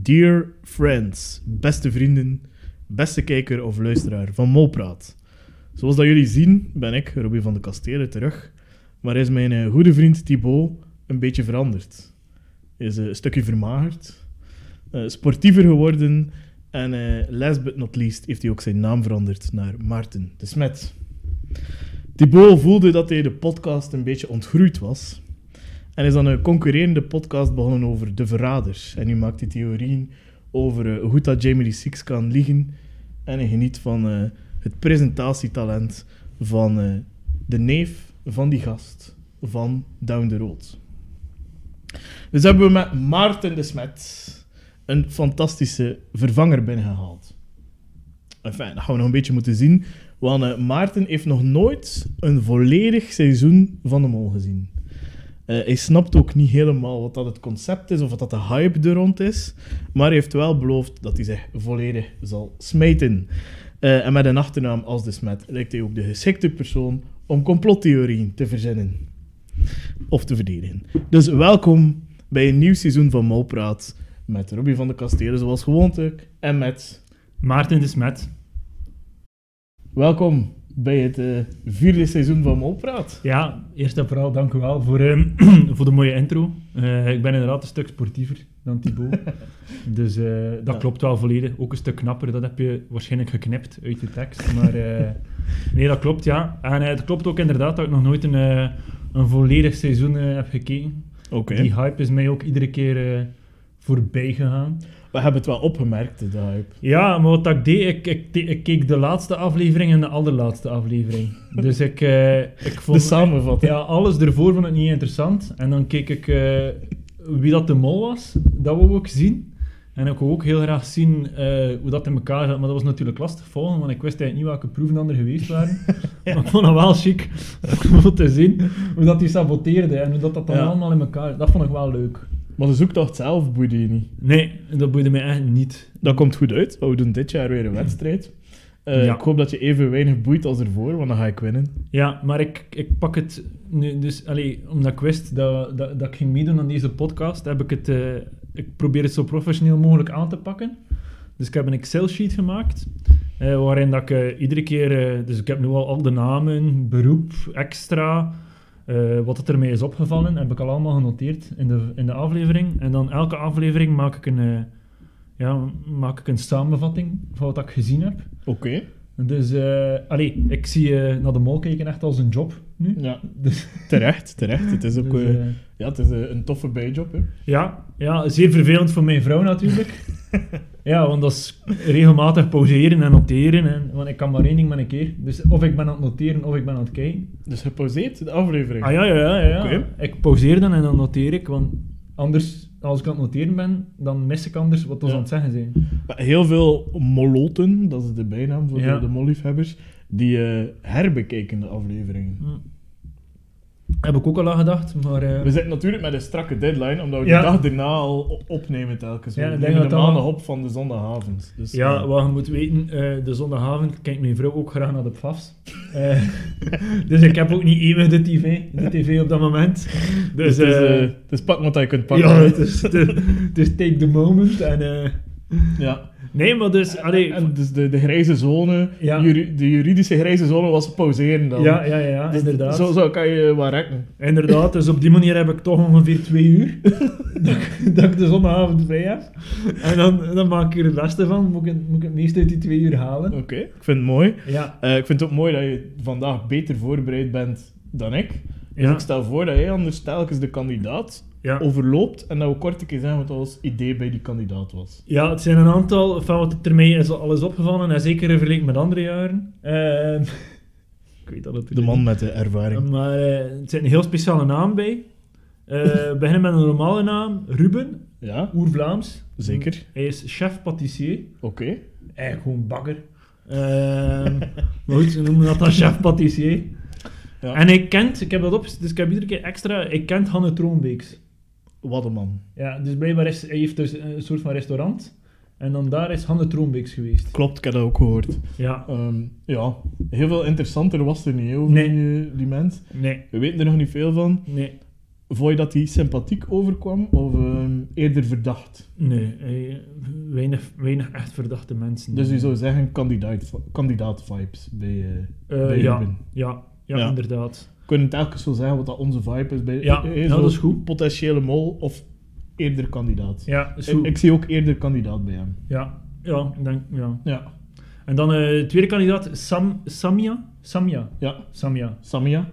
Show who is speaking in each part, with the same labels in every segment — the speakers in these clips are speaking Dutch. Speaker 1: Dear friends, beste vrienden, beste kijker of luisteraar van Molpraat. Zoals dat jullie zien, ben ik, Robin van de Kastelen, terug. Maar is mijn eh, goede vriend Thibaut een beetje veranderd? Hij is eh, een stukje vermagerd, eh, sportiever geworden en eh, last but not least heeft hij ook zijn naam veranderd naar Maarten de Smet. Thibaut voelde dat hij de podcast een beetje ontgroeid was en is dan een concurrerende podcast begonnen over De Verrader. En nu maakt hij theorieën over eh, hoe goed dat Jamie Lee Six kan liegen. En hij geniet van eh, het presentatietalent van eh, de neef van die gast van Down the Road. Dus hebben we met Maarten de Smet een fantastische vervanger binnengehaald. Enfin, dat gaan we nog een beetje moeten zien. Want eh, Maarten heeft nog nooit een volledig seizoen van de Mol gezien. Eh, hij snapt ook niet helemaal wat dat het concept is of wat dat de hype er rond is. Maar hij heeft wel beloofd dat hij zich volledig zal smijten. Eh, en met een achternaam als de smet lijkt hij ook de geschikte persoon om complottheorieën te verzinnen. Of te verdedigen. Dus welkom bij een nieuw seizoen van Molpraat. Met Robbie van de Kastelen zoals gewoonlijk. En met...
Speaker 2: Maarten de Smet.
Speaker 1: Welkom bij het eh, vierde seizoen van Molpraat.
Speaker 2: Ja, eerst en vooral dank u wel voor, ehm, voor de mooie intro. Eh, ik ben inderdaad een stuk sportiever dan Thibaut. dus eh, dat
Speaker 1: Ja.
Speaker 2: klopt wel volledig. Ook een stuk knapper, dat heb je waarschijnlijk geknipt uit de tekst. Maar eh, nee, dat klopt ja. En eh, het klopt ook inderdaad dat ik nog nooit een, eh, een volledig seizoen eh, heb gekeken.
Speaker 1: Oké.
Speaker 2: Die hype is mij ook iedere keer eh, voorbij gegaan.
Speaker 1: We hebben het wel opgemerkt, de hype.
Speaker 2: Ja, maar wat dat ik deed, ik, ik, ik keek de laatste aflevering en de allerlaatste aflevering. Dus ik, eh, ik
Speaker 1: De
Speaker 2: vond
Speaker 1: samenvatting.
Speaker 2: ja, alles ervoor vond ik niet interessant. En dan keek ik eh, wie dat de mol was, dat wou ik zien. En ik wou ook heel graag zien eh, hoe dat in elkaar zat. Maar dat was natuurlijk lastig volgen, want ik wist eigenlijk niet welke proeven dan er geweest waren. Maar ik vond het wel chic om te zien hoe dat die saboteerde en hoe dat, dat dan
Speaker 1: Ja.
Speaker 2: allemaal in elkaar... Dat vond ik wel leuk.
Speaker 1: Maar de zoektocht zelf boeide je niet.
Speaker 2: Nee, dat boeide mij echt niet.
Speaker 1: Dat komt goed uit. want We doen dit jaar weer een wedstrijd. Eh,
Speaker 2: Ja.
Speaker 1: Ik hoop dat je even weinig boeit als ervoor, want dan ga ik winnen.
Speaker 2: Ja, maar ik, ik pak het nu, dus allee, omdat ik wist dat, dat, dat ik ging meedoen aan deze podcast, heb ik het, eh, ik probeer het zo professioneel mogelijk aan te pakken. Dus ik heb een Excel-sheet gemaakt, eh, waarin dat ik eh, iedere keer, eh, dus ik heb nu al al de namen, beroep, extra, eh, wat het ermee is opgevallen, heb ik al allemaal genoteerd in de, in de aflevering. En dan elke aflevering maak ik een, eh, ja, maak ik een samenvatting van wat ik gezien heb.
Speaker 1: Oké.
Speaker 2: Dus, eh allee, ik zie eh, naar de mol kijken echt als een job nu.
Speaker 1: Ja,
Speaker 2: Dus,
Speaker 1: terecht, terecht. Het is ook
Speaker 2: dus,
Speaker 1: eh,
Speaker 2: eh,
Speaker 1: ja, het is, eh, een toffe bijjob. Hè.
Speaker 2: ja, ja, zeer vervelend voor mijn vrouw natuurlijk. ja, want dat is regelmatig pauzeren en noteren. En, want ik kan maar één ding maar een keer. Dus of ik ben aan het noteren of ik ben aan het kijken.
Speaker 1: Dus gepauzeerd, de aflevering.
Speaker 2: Ah ja, ja, ja. ja, ja.
Speaker 1: Oké.
Speaker 2: Ik pauzeer dan en dan noteer ik. Want anders, als ik aan het noteren ben, dan mis ik anders wat we
Speaker 1: Ja.
Speaker 2: aan het zeggen zijn.
Speaker 1: Maar Heel veel moloten, dat is de bijnaam voor
Speaker 2: Ja.
Speaker 1: de, de molliefhebbers, die eh, herbekeken de afleveringen.
Speaker 2: Hm. Heb ik ook al aan gedacht, maar... eh,
Speaker 1: We zitten natuurlijk met een strakke deadline, omdat we
Speaker 2: Ja.
Speaker 1: de dag daarna al o- opnemen telkens. We
Speaker 2: Ja, ik denk
Speaker 1: nemen
Speaker 2: dat
Speaker 1: de
Speaker 2: dat-
Speaker 1: maandag op van de zondagavond. Dus,
Speaker 2: Ja,
Speaker 1: eh,
Speaker 2: wat je moet weten, eh, de zondagavond kijkt mijn vrouw ook graag naar de PFAS. Eh, dus ik heb ook niet eeuwig de tv, de tv op dat moment. Dus,
Speaker 1: dus, het, is,
Speaker 2: eh,
Speaker 1: eh, het is pak wat je kunt pakken.
Speaker 2: ja, het is, het is take the moment. En, eh,
Speaker 1: ja.
Speaker 2: nee, maar dus, allee,
Speaker 1: En dus de, de grijze zone,
Speaker 2: Ja.
Speaker 1: juri- de juridische grijze zone was pauzeren dan.
Speaker 2: ja, ja, ja,
Speaker 1: Dus
Speaker 2: inderdaad.
Speaker 1: Zo, zo kan je wat rekken.
Speaker 2: Inderdaad, dus op die manier heb ik toch ongeveer twee uur dat, ik- dat ik de zondagavond vrij heb. En dan, dan maak ik er het beste van, moet ik, het- moet ik het meeste uit die twee uur halen.
Speaker 1: Oké, ik vind het mooi.
Speaker 2: Ja,
Speaker 1: Eh, ik vind het ook mooi dat je vandaag beter voorbereid bent dan ik. Dus
Speaker 2: ja,
Speaker 1: ik stel voor dat jij anders telkens de kandidaat
Speaker 2: ja.
Speaker 1: overloopt en dat we kort een keer zeggen wat ons idee bij die kandidaat was.
Speaker 2: Ja, het zijn een aantal van wat er mij is al is opgevallen, en zeker in vergelijking met andere jaren. Ehm, ik weet dat natuurlijk
Speaker 1: met de
Speaker 2: niet.
Speaker 1: ervaring.
Speaker 2: Maar eh, het zit een heel speciale naam bij. Eh, we beginnen met een normale naam, Ruben,
Speaker 1: Ja,
Speaker 2: oer-Vlaams.
Speaker 1: zeker.
Speaker 2: Hij is chef patissier,
Speaker 1: Oké.
Speaker 2: eigenlijk gewoon bakker. Ehm, maar goed, ze noemen dat dan chef patissier.
Speaker 1: Ja.
Speaker 2: En hij kent, ik heb dat op, dus ik heb iedere keer extra, hij kent Hanne Troonbeeks.
Speaker 1: Wat een man.
Speaker 2: Ja, dus blijkbaar is, hij heeft dus een soort van restaurant. En dan daar is Hanne Troonbeeks geweest.
Speaker 1: Klopt, ik heb dat ook gehoord.
Speaker 2: Ja,
Speaker 1: Ehm, ja, heel veel interessanter was er niet hè, over
Speaker 2: Nee.
Speaker 1: die, eh, die mens.
Speaker 2: nee,
Speaker 1: We weten er nog niet veel van.
Speaker 2: nee.
Speaker 1: Vond je dat hij sympathiek overkwam of ehm, eerder verdacht?
Speaker 2: Nee, eh, weinig, weinig echt verdachte mensen.
Speaker 1: Dus je zou zeggen kandidaat, kandidaat vibes bij, eh,
Speaker 2: Eh,
Speaker 1: bij
Speaker 2: ja,
Speaker 1: Ruben.
Speaker 2: ja, ja,
Speaker 1: Ja.
Speaker 2: inderdaad.
Speaker 1: Kunnen telkens zo zeggen wat dat onze vibe is bij
Speaker 2: Ja,
Speaker 1: eh,
Speaker 2: ja,
Speaker 1: zo
Speaker 2: dat is goed.
Speaker 1: Potentiële mol of eerder kandidaat.
Speaker 2: Ja, is
Speaker 1: Ik,
Speaker 2: goed.
Speaker 1: ik zie ook eerder kandidaat bij hem.
Speaker 2: ja, ja, ik denk, ja.
Speaker 1: Ja,
Speaker 2: En dan eh, de tweede kandidaat, Sam, Samia. Samia.
Speaker 1: ja.
Speaker 2: Samia.
Speaker 1: Samia.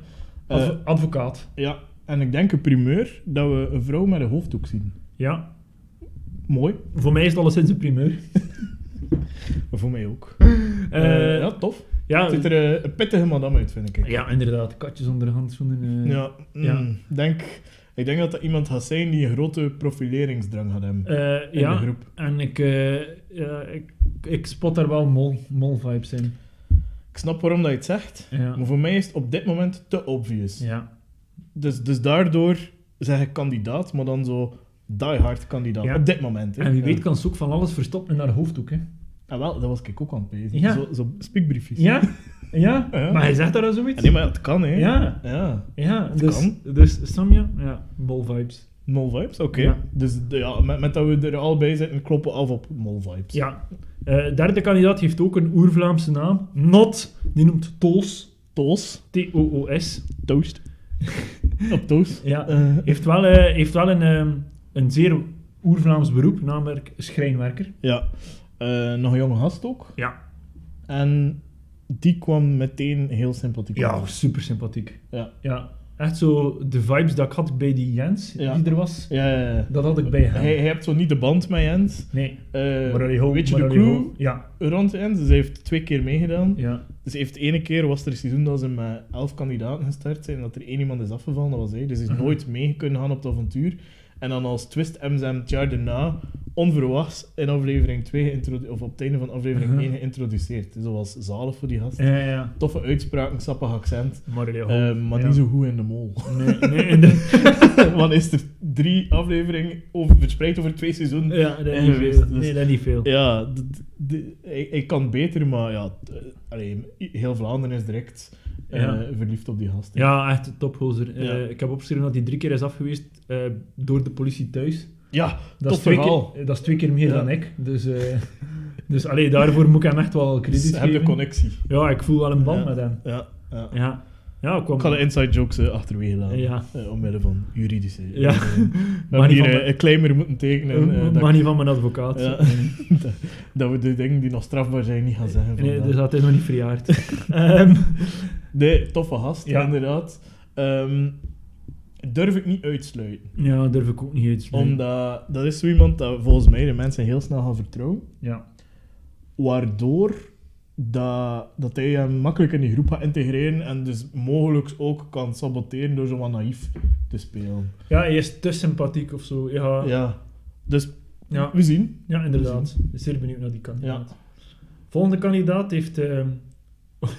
Speaker 1: Eh,
Speaker 2: Adv- advocaat.
Speaker 1: ja, en ik denk een primeur dat we een vrouw met een hoofddoek zien.
Speaker 2: Ja.
Speaker 1: Mooi,
Speaker 2: Voor mij is het alleszins een primeur.
Speaker 1: maar voor mij ook.
Speaker 2: Eh,
Speaker 1: Eh, ja, tof.
Speaker 2: ja,
Speaker 1: Het ziet er eh, een pittige madame uit, vind ik.
Speaker 2: ja, inderdaad. Katjes onder de handschoenen. eh.
Speaker 1: Ja, mm,
Speaker 2: Ja.
Speaker 1: Denk, ik denk dat dat iemand gaat zijn die een grote profileringsdrang gaat hebben
Speaker 2: Eh,
Speaker 1: in
Speaker 2: ja.
Speaker 1: de groep.
Speaker 2: En ik, eh, ja, ik, ik spot daar wel mol, mol vibes in.
Speaker 1: Ik snap waarom dat je het zegt,
Speaker 2: Ja.
Speaker 1: maar voor mij is het op dit moment te obvious.
Speaker 2: Ja.
Speaker 1: Dus, dus daardoor zeg ik kandidaat, maar dan zo diehard kandidaat.
Speaker 2: Ja.
Speaker 1: Op dit moment. hè.
Speaker 2: En wie
Speaker 1: Ja.
Speaker 2: weet kan ze ook van alles verstoppen in haar hoofddoek. Hè.
Speaker 1: Ah, wel, dat was ik ook aan het bezig.
Speaker 2: Ja.
Speaker 1: Zo, zo spiekbriefjes.
Speaker 2: Ja? Ja?
Speaker 1: Ja.
Speaker 2: Maar hij zegt daar al zoiets?
Speaker 1: Ah, nee, maar het kan, hè.
Speaker 2: Ja.
Speaker 1: Ja.
Speaker 2: Ja, dus,
Speaker 1: kan.
Speaker 2: dus Samia? Ja, mol vibes.
Speaker 1: Mol vibes, oké.
Speaker 2: Ja.
Speaker 1: Dus de- ja, met, met dat we er al bij zitten, kloppen we af op mol vibes.
Speaker 2: Ja. Eh, derde kandidaat heeft ook een oer-Vlaamse naam. Not. Die noemt Toos.
Speaker 1: Toos.
Speaker 2: T-O-O-S.
Speaker 1: Toast. op toast.
Speaker 2: Ja.
Speaker 1: Eh,
Speaker 2: Heeft wel, eh, heeft wel een, ehm, een zeer oer-Vlaams beroep, namelijk schrijnwerker.
Speaker 1: ja. Eh, nog een jonge gast ook.
Speaker 2: Ja.
Speaker 1: En die kwam meteen heel sympathiek.
Speaker 2: Ja,
Speaker 1: over.
Speaker 2: super sympathiek.
Speaker 1: Ja.
Speaker 2: Ja. Echt zo de vibes dat ik had bij die Jens,
Speaker 1: Ja.
Speaker 2: die er was,
Speaker 1: Ja, ja, ja.
Speaker 2: dat had ik bij hem.
Speaker 1: Hij, hij hebt zo niet de band met Jens.
Speaker 2: Nee.
Speaker 1: Eh,
Speaker 2: Maar allee, ho,
Speaker 1: weet je de
Speaker 2: maar allee,
Speaker 1: crew
Speaker 2: ho. Ja.
Speaker 1: rond Jens? Dus hij heeft twee keer meegedaan.
Speaker 2: Ja.
Speaker 1: Dus hij heeft de ene keer was er een seizoen dat ze met elf kandidaten gestart zijn en dat er één iemand is afgevallen, dat was hij. Dus hij is
Speaker 2: Mhm.
Speaker 1: nooit mee kunnen gaan op het avontuur. En dan als twist hebben ze hem het jaar daarna onverwachts in aflevering 2 geïntrodu- of op het einde van aflevering
Speaker 2: Mhm.
Speaker 1: 1 geïntroduceerd. Dus dat was zalig voor die gast.
Speaker 2: Ja, ja, ja.
Speaker 1: Toffe uitspraken, sappig accent,
Speaker 2: Maar, allee, ho.
Speaker 1: eh, maar
Speaker 2: Ja.
Speaker 1: niet zo goed in de mol.
Speaker 2: Nee, nee. inderdaad.
Speaker 1: Want is er drie afleveringen over, verspreid over twee seizoenen.
Speaker 2: ja, dat
Speaker 1: Ja,
Speaker 2: niet
Speaker 1: geweest,
Speaker 2: veel.
Speaker 1: dus-
Speaker 2: Nee, dat niet veel.
Speaker 1: Ja, d- d- d- ik, ik kan beter, maar ja, t- eh, allee, heel Vlaanderen is direct eh,
Speaker 2: Ja.
Speaker 1: verliefd op die gast. hè.
Speaker 2: Ja, echt een topgozer. Eh,
Speaker 1: Ja.
Speaker 2: ik heb opgeschreven dat hij drie keer is afgeweest eh, door de politie thuis.
Speaker 1: ja
Speaker 2: Dat, is
Speaker 1: Top
Speaker 2: twee
Speaker 1: verhaal.
Speaker 2: keer, eh, dat is twee keer meer
Speaker 1: Ja.
Speaker 2: dan ik. Dus, eh, dus allee, daarvoor moet ik hem echt wel
Speaker 1: Dus
Speaker 2: krediet
Speaker 1: heb je
Speaker 2: geven.
Speaker 1: connectie.
Speaker 2: ja, ik voel wel een band
Speaker 1: Ja.
Speaker 2: met hem.
Speaker 1: Ja, ja.
Speaker 2: Ja, ja ik kwam...
Speaker 1: Ik ga de inside jokes eh, achterwege laten.
Speaker 2: Ja.
Speaker 1: Eh, omwille van juridische.
Speaker 2: Ja.
Speaker 1: eh, we hebben
Speaker 2: maar niet
Speaker 1: hier
Speaker 2: van
Speaker 1: eh,
Speaker 2: mijn-
Speaker 1: een claimer moeten tekenen. eh,
Speaker 2: eh,
Speaker 1: dat,
Speaker 2: maar niet van mijn advocaat.
Speaker 1: Ja.
Speaker 2: Nee,
Speaker 1: dat we de dingen die nog strafbaar zijn niet gaan zeggen.
Speaker 2: nee,
Speaker 1: vandaag.
Speaker 2: dus dat is nog niet verjaard. Ehm,
Speaker 1: Nee, toffe gast,
Speaker 2: Ja.
Speaker 1: inderdaad. Ehm, durf ik niet uitsluiten.
Speaker 2: ja, dat durf ik ook niet uit te spreken.
Speaker 1: Omdat dat is zo iemand dat volgens mij de mensen heel snel gaan vertrouwen.
Speaker 2: Ja.
Speaker 1: waardoor dat, dat hij hem makkelijk in die groep gaat integreren en dus mogelijk ook kan saboteren door zo wat naïef te spelen.
Speaker 2: ja, hij is te sympathiek of zo. Ja, ja.
Speaker 1: Ja. Dus
Speaker 2: ja,
Speaker 1: we zien.
Speaker 2: inderdaad. Ik ben zeer benieuwd naar die kandidaat.
Speaker 1: Ja.
Speaker 2: Volgende kandidaat heeft ehm,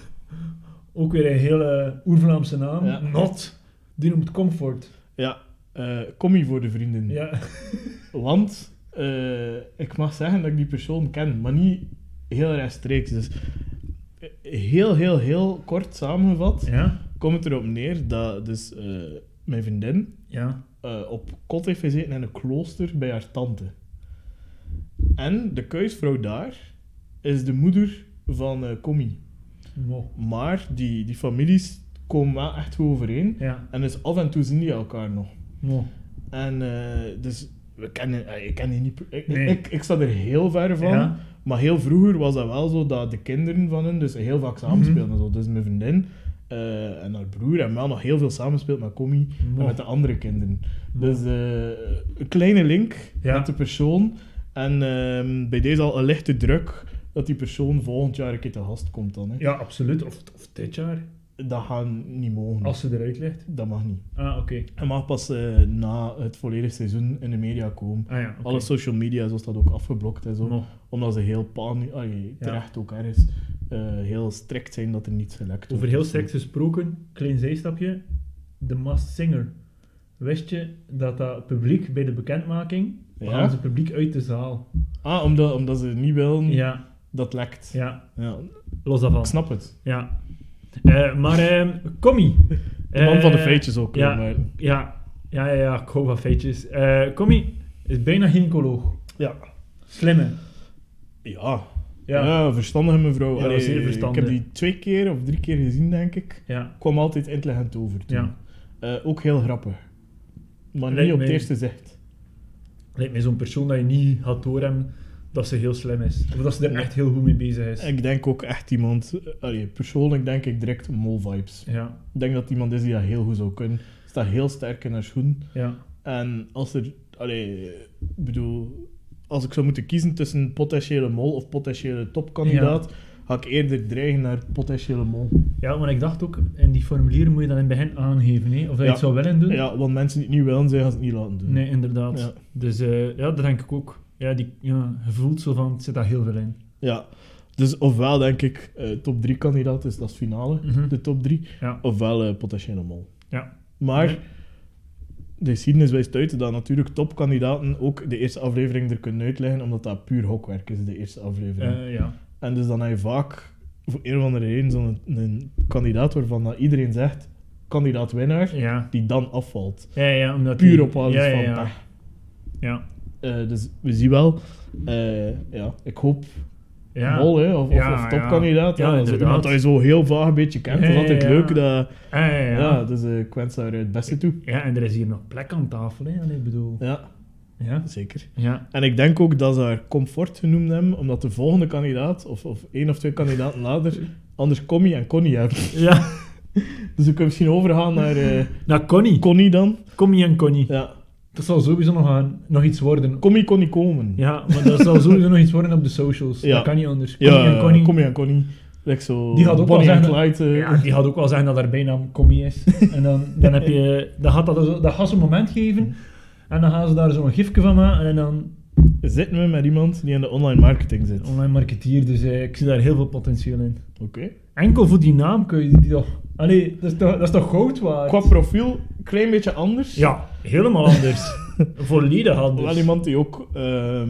Speaker 2: ook weer een hele oer-Vlaamse naam.
Speaker 1: Ja.
Speaker 2: Not. Die noemt Comfort.
Speaker 1: ja. eh, kom hier voor de vrienden.
Speaker 2: Ja.
Speaker 1: Want eh, ik mag zeggen dat ik die persoon ken, maar niet heel rechtstreeks. Dus eh, heel, heel, heel kort samengevat
Speaker 2: Ja.
Speaker 1: komt het erop neer dat dus, eh, mijn vriendin
Speaker 2: Ja.
Speaker 1: eh, op kot heeft gezeten in een klooster bij haar tante. En de kuisvrouw daar is de moeder van eh Commie.
Speaker 2: Mo.
Speaker 1: Maar die, die families komen wel echt goed overeen.
Speaker 2: Ja.
Speaker 1: En dus af en toe zien die elkaar nog.
Speaker 2: Mo.
Speaker 1: En eh, dus, we kennen, eh, ik ken die niet... per- Ik,
Speaker 2: Nee.
Speaker 1: ik, ik sta er heel ver van.
Speaker 2: Ja.
Speaker 1: Maar heel vroeger was dat wel zo dat de kinderen van hen dus heel vaak samenspeelden.
Speaker 2: Mhm.
Speaker 1: en zo. Dus mijn vriendin eh, en haar broer hebben wel nog heel veel samenspeeld met Commie en
Speaker 2: Mo.
Speaker 1: met de andere kinderen.
Speaker 2: Mo.
Speaker 1: Dus eh, een kleine link
Speaker 2: Ja.
Speaker 1: met de persoon. En ehm, bij deze al een lichte druk dat die persoon volgend jaar een keer te gast komt dan. Hè.
Speaker 2: Ja, absoluut. Of, of dit jaar.
Speaker 1: Dat gaan niet mogen.
Speaker 2: Als ze eruit ligt.
Speaker 1: Dat mag niet.
Speaker 2: Ah, oké.
Speaker 1: Het mag pas eh, na het volledige seizoen in de media komen.
Speaker 2: Ah ja, oké.
Speaker 1: Alle social media zoals dat ook afgeblokt en zo.
Speaker 2: Mo.
Speaker 1: Omdat ze heel paniek, terecht ook ergens, eh, heel strikt zijn dat er niet gelekt
Speaker 2: Over heel sterk gesproken, klein zijstapje. The Masked Singer. Wist je dat dat publiek bij de bekendmaking...
Speaker 1: Ja?
Speaker 2: halen ze publiek uit de zaal.
Speaker 1: Ah, omdat, omdat ze niet willen
Speaker 2: Ja.
Speaker 1: dat lekt.
Speaker 2: Ja.
Speaker 1: Ja,
Speaker 2: Los daarvan.
Speaker 1: Ik snap het.
Speaker 2: Ja. Eh, maar ehm Commie.
Speaker 1: De man van de
Speaker 2: Eh,
Speaker 1: feitjes ook.
Speaker 2: ja.
Speaker 1: eh, maar-
Speaker 2: Ja. Ja, ja, ja, ik hou van feitjes. Eh Commie is bijna gynaecoloog.
Speaker 1: Ja.
Speaker 2: Slimme.
Speaker 1: Ja.
Speaker 2: Ja. ja.
Speaker 1: verstandige mevrouw.
Speaker 2: Ja,
Speaker 1: Allee,
Speaker 2: zeer
Speaker 1: Ik
Speaker 2: verstandig.
Speaker 1: heb die twee keer of drie keer gezien, denk ik.
Speaker 2: Ja.
Speaker 1: Kwam altijd intelligent over toen. Eh, ook heel grappig. Maar niet
Speaker 2: Lijkt
Speaker 1: op het
Speaker 2: mij-
Speaker 1: eerste zicht.
Speaker 2: Lijkt mij zo'n persoon dat je niet gaat doorhebben dat ze heel slim is. Of dat ze er
Speaker 1: Nee.
Speaker 2: echt heel goed mee bezig is.
Speaker 1: Ik denk ook echt iemand... eh, Allee, persoonlijk denk ik direct mol-vibes.
Speaker 2: Ja,
Speaker 1: Ik denk dat het iemand is die dat heel goed zou kunnen. Staat heel sterk in haar schoen.
Speaker 2: ja.
Speaker 1: En als er... Allee, ik bedoel... Als ik zou moeten kiezen tussen potentiële mol of potentiële topkandidaat, ga ik eerder dreigen naar potentiële mol.
Speaker 2: Ja, maar ik dacht ook, in die formulieren moet je dat in het begin aangeven, hè? of dat je
Speaker 1: Ja.
Speaker 2: het zou willen doen.
Speaker 1: Ja, want mensen die het niet willen, zij gaan het niet laten doen.
Speaker 2: Hm. Nee, inderdaad.
Speaker 1: Ja.
Speaker 2: Dus eh, ja, dat denk ik ook. Ja, die, ja, je voelt zo van, het zit daar heel veel in.
Speaker 1: Ja. Dus ofwel denk ik eh, top 3 kandidaat is, dat is finale,
Speaker 2: Mhm.
Speaker 1: de top 3.
Speaker 2: Ja.
Speaker 1: Ofwel eh, potentiële mol.
Speaker 2: Ja.
Speaker 1: Maar
Speaker 2: Nee.
Speaker 1: de geschiedenis wijst uit dat natuurlijk topkandidaten ook de eerste aflevering er kunnen uitleggen, omdat dat puur hokwerk is, de eerste aflevering.
Speaker 2: Eh, ja.
Speaker 1: En dus dan heb je vaak, voor een of andere reden, zo'n een kandidaat waarvan dat iedereen zegt, kandidaat winnaar,
Speaker 2: Ja.
Speaker 1: die dan afvalt.
Speaker 2: Ja, ja, omdat
Speaker 1: Puur
Speaker 2: die-
Speaker 1: op basis
Speaker 2: ja, ja,
Speaker 1: van
Speaker 2: ja.
Speaker 1: pech.
Speaker 2: Ja.
Speaker 1: Eh, dus we zien wel, eh, ja, ik hoop
Speaker 2: Ja.
Speaker 1: mol, hè, of, of-
Speaker 2: Ja,
Speaker 1: of topkandidaat. Ja,
Speaker 2: ja. Ja,
Speaker 1: dat is ook
Speaker 2: inderdaad.
Speaker 1: iemand dat je zo heel vaag een beetje kent.
Speaker 2: Ja,
Speaker 1: dat is altijd
Speaker 2: ja, ja.
Speaker 1: leuk. Dat,
Speaker 2: Ah, ja, ja.
Speaker 1: ja.
Speaker 2: Ja.
Speaker 1: dus eh, ik wens haar het beste toe.
Speaker 2: en er is hier nog plek aan tafel, hè. Allee, ik bedoel...
Speaker 1: Ja,
Speaker 2: Ja.
Speaker 1: zeker.
Speaker 2: Ja.
Speaker 1: En ik denk ook dat ze haar comfort genoemd hebben, omdat de volgende kandidaat, of, of één of twee kandidaten later, anders Commie en Connie hebben.
Speaker 2: Ja.
Speaker 1: Dus we kunnen misschien overgaan naar eh,
Speaker 2: Nou, Connie.
Speaker 1: Connie dan.
Speaker 2: Connie en Connie.
Speaker 1: Ja.
Speaker 2: Dat zal sowieso nog, aan, nog iets worden.
Speaker 1: Commie kon niet komen.
Speaker 2: Ja, maar dat zal sowieso nog iets worden op de socials.
Speaker 1: Ja.
Speaker 2: Dat kan niet anders.
Speaker 1: Ja,
Speaker 2: Connie en Connie.
Speaker 1: Commie en Connie. Like zo
Speaker 2: Die gaat ook
Speaker 1: Bonnie
Speaker 2: wel
Speaker 1: en
Speaker 2: zeggen-
Speaker 1: Clyde, eh,
Speaker 2: Ja, die gaat ook wel zeggen dat haar bijnaam Commie is. En dan, dan, heb je, dan, gaat dat, zo- dan gaat ze een moment geven. En dan gaan ze daar zo'n gifje van maken. En dan
Speaker 1: Zitten we met iemand die in de online marketing zit. Oké.
Speaker 2: online marketeer. Dus eh, ik zie daar heel veel potentieel in. Enkel voor die naam kun je die toch... Allee, dat is toch, dat is toch goud waard?
Speaker 1: Qua profiel, klein beetje anders.
Speaker 2: Ja, helemaal anders. Volledig anders.
Speaker 1: Wel iemand die ook ehm,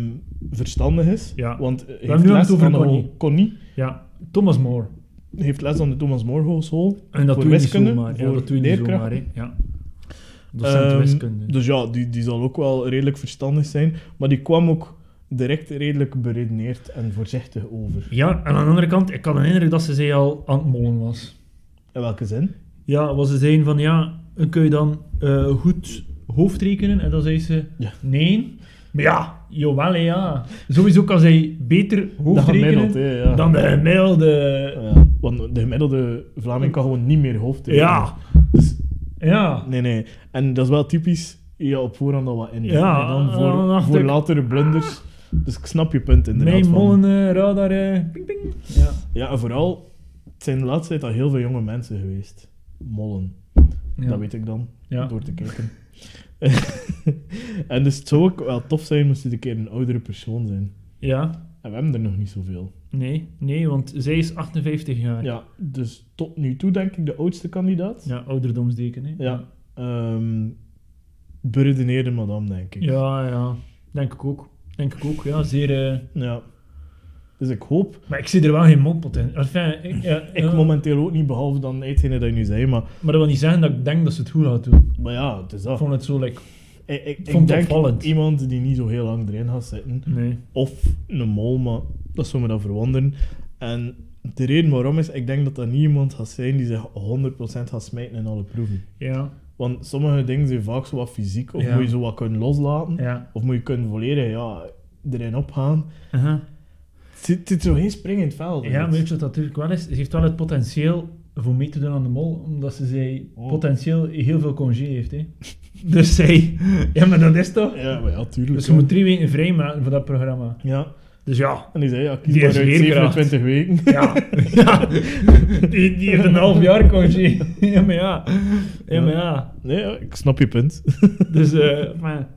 Speaker 1: verstandig is.
Speaker 2: Ja.
Speaker 1: Want eh,
Speaker 2: hebben
Speaker 1: heeft
Speaker 2: nu
Speaker 1: les,
Speaker 2: het over
Speaker 1: aan de
Speaker 2: Connie.
Speaker 1: Ho- Connie.
Speaker 2: Ja, Thomas More.
Speaker 1: Heeft les aan de Thomas More Hogeschool.
Speaker 2: En dat
Speaker 1: Voor
Speaker 2: doe je niet
Speaker 1: wiskunde,
Speaker 2: zomaar. Ja,
Speaker 1: voor
Speaker 2: dat doe je niet
Speaker 1: leerkrachten.
Speaker 2: zomaar, hè. Ja. Docent
Speaker 1: Ehm,
Speaker 2: wiskunde.
Speaker 1: Dus ja, die, die zal ook wel redelijk verstandig zijn. Maar die kwam ook direct redelijk beredeneerd en voorzichtig over.
Speaker 2: Ja, en aan de andere kant, ik kan me herinneren dat ze zei al aan het mollen was.
Speaker 1: In welke zin?
Speaker 2: Ja, was ze zeiden van ja, dan kun je dan eh, goed hoofdrekenen? En dan zei ze
Speaker 1: Ja.
Speaker 2: nee. Maar ja, jawel hè, ja. Sowieso kan zij beter hoofdrekenen
Speaker 1: gemiddeld, hè, ja.
Speaker 2: dan de gemiddelde.
Speaker 1: Ja, Eh, want de gemiddelde Vlaming kan gewoon niet meer hoofd
Speaker 2: Ja,
Speaker 1: rekenen.
Speaker 2: ja.
Speaker 1: Dus,
Speaker 2: ja.
Speaker 1: nee, nee. En dat is wel typisch, je op voorhand al wat in.
Speaker 2: Ja,
Speaker 1: en dan voor,
Speaker 2: dan dacht
Speaker 1: voor
Speaker 2: ik-
Speaker 1: latere blunders. Dus ik snap je punt inderdaad.
Speaker 2: Mijn
Speaker 1: van-
Speaker 2: mollen eh, radar, eh, ping ping. Ja.
Speaker 1: Ja, en vooral, het zijn de laatste tijd al heel veel jonge mensen geweest. Mollen,
Speaker 2: ja.
Speaker 1: dat weet ik dan,
Speaker 2: Ja.
Speaker 1: door te kijken. en dus het zou ook wel tof zijn moest het een keer een oudere persoon zijn.
Speaker 2: Ja,
Speaker 1: En we hebben er nog niet zoveel.
Speaker 2: nee, nee, want zij is 58 jaar.
Speaker 1: Ja, dus tot nu toe denk ik de oudste kandidaat.
Speaker 2: Ja, ouderdomsdeken, hè.
Speaker 1: Ja. Ehm beredeneerde madame, denk ik.
Speaker 2: Ja, ja. Denk ik ook. Denk ik ook, ja. Zeer... eh,
Speaker 1: Ja. Dus ik hoop,
Speaker 2: Maar ik zie er wel geen mopot in. Enfin, ik, ja, eh,
Speaker 1: ik
Speaker 2: ja.
Speaker 1: momenteel ook niet, behalve dan hetgene dat je nu zei, maar,
Speaker 2: Maar dat wil niet zeggen dat ik denk dat ze het goed gaat doen.
Speaker 1: maar ja, het is
Speaker 2: Ik
Speaker 1: dat.
Speaker 2: vond het zo lekker.
Speaker 1: ik ik, ik
Speaker 2: vond het
Speaker 1: denk
Speaker 2: opvallend. Hm.
Speaker 1: iemand die niet zo heel lang erin gaat zitten,
Speaker 2: Nee.
Speaker 1: of een mol, maar dat zou me dan verwonderen. En de reden waarom is, ik denk dat dat niet iemand gaat zijn die zich 100% gaat smijten in alle proeven.
Speaker 2: Ja.
Speaker 1: Want sommige dingen zijn vaak zo wat fysiek, of
Speaker 2: Ja.
Speaker 1: moet je zo wat kunnen loslaten,
Speaker 2: Ja.
Speaker 1: of moet je kunnen volledig ja, erin opgaan.
Speaker 2: Aha.
Speaker 1: Het zit- het zit zo geen spring in het veld.
Speaker 2: Ja, maar weet je wat dat natuurlijk wel is? Ze heeft wel het potentieel voor mee te doen aan de mol, omdat ze zij
Speaker 1: Oh.
Speaker 2: potentieel heel veel congé heeft, hè. Dus zij... Ja, maar dat is toch?
Speaker 1: Ja, maar ja, tuurlijk.
Speaker 2: Dus ze
Speaker 1: hè.
Speaker 2: moet drie weken vrijmaken voor dat programma.
Speaker 1: Ja,
Speaker 2: Dus ja.
Speaker 1: en die zei, ja, kies
Speaker 2: Die
Speaker 1: maar
Speaker 2: is
Speaker 1: uit
Speaker 2: leerkracht.
Speaker 1: 27 weken.
Speaker 2: Ja. ja. Die, die heeft een half jaar congé. Ja, maar ja. Ja, maar ja.
Speaker 1: Nee, ja, ik snap je punt.
Speaker 2: Dus, eh maar ja.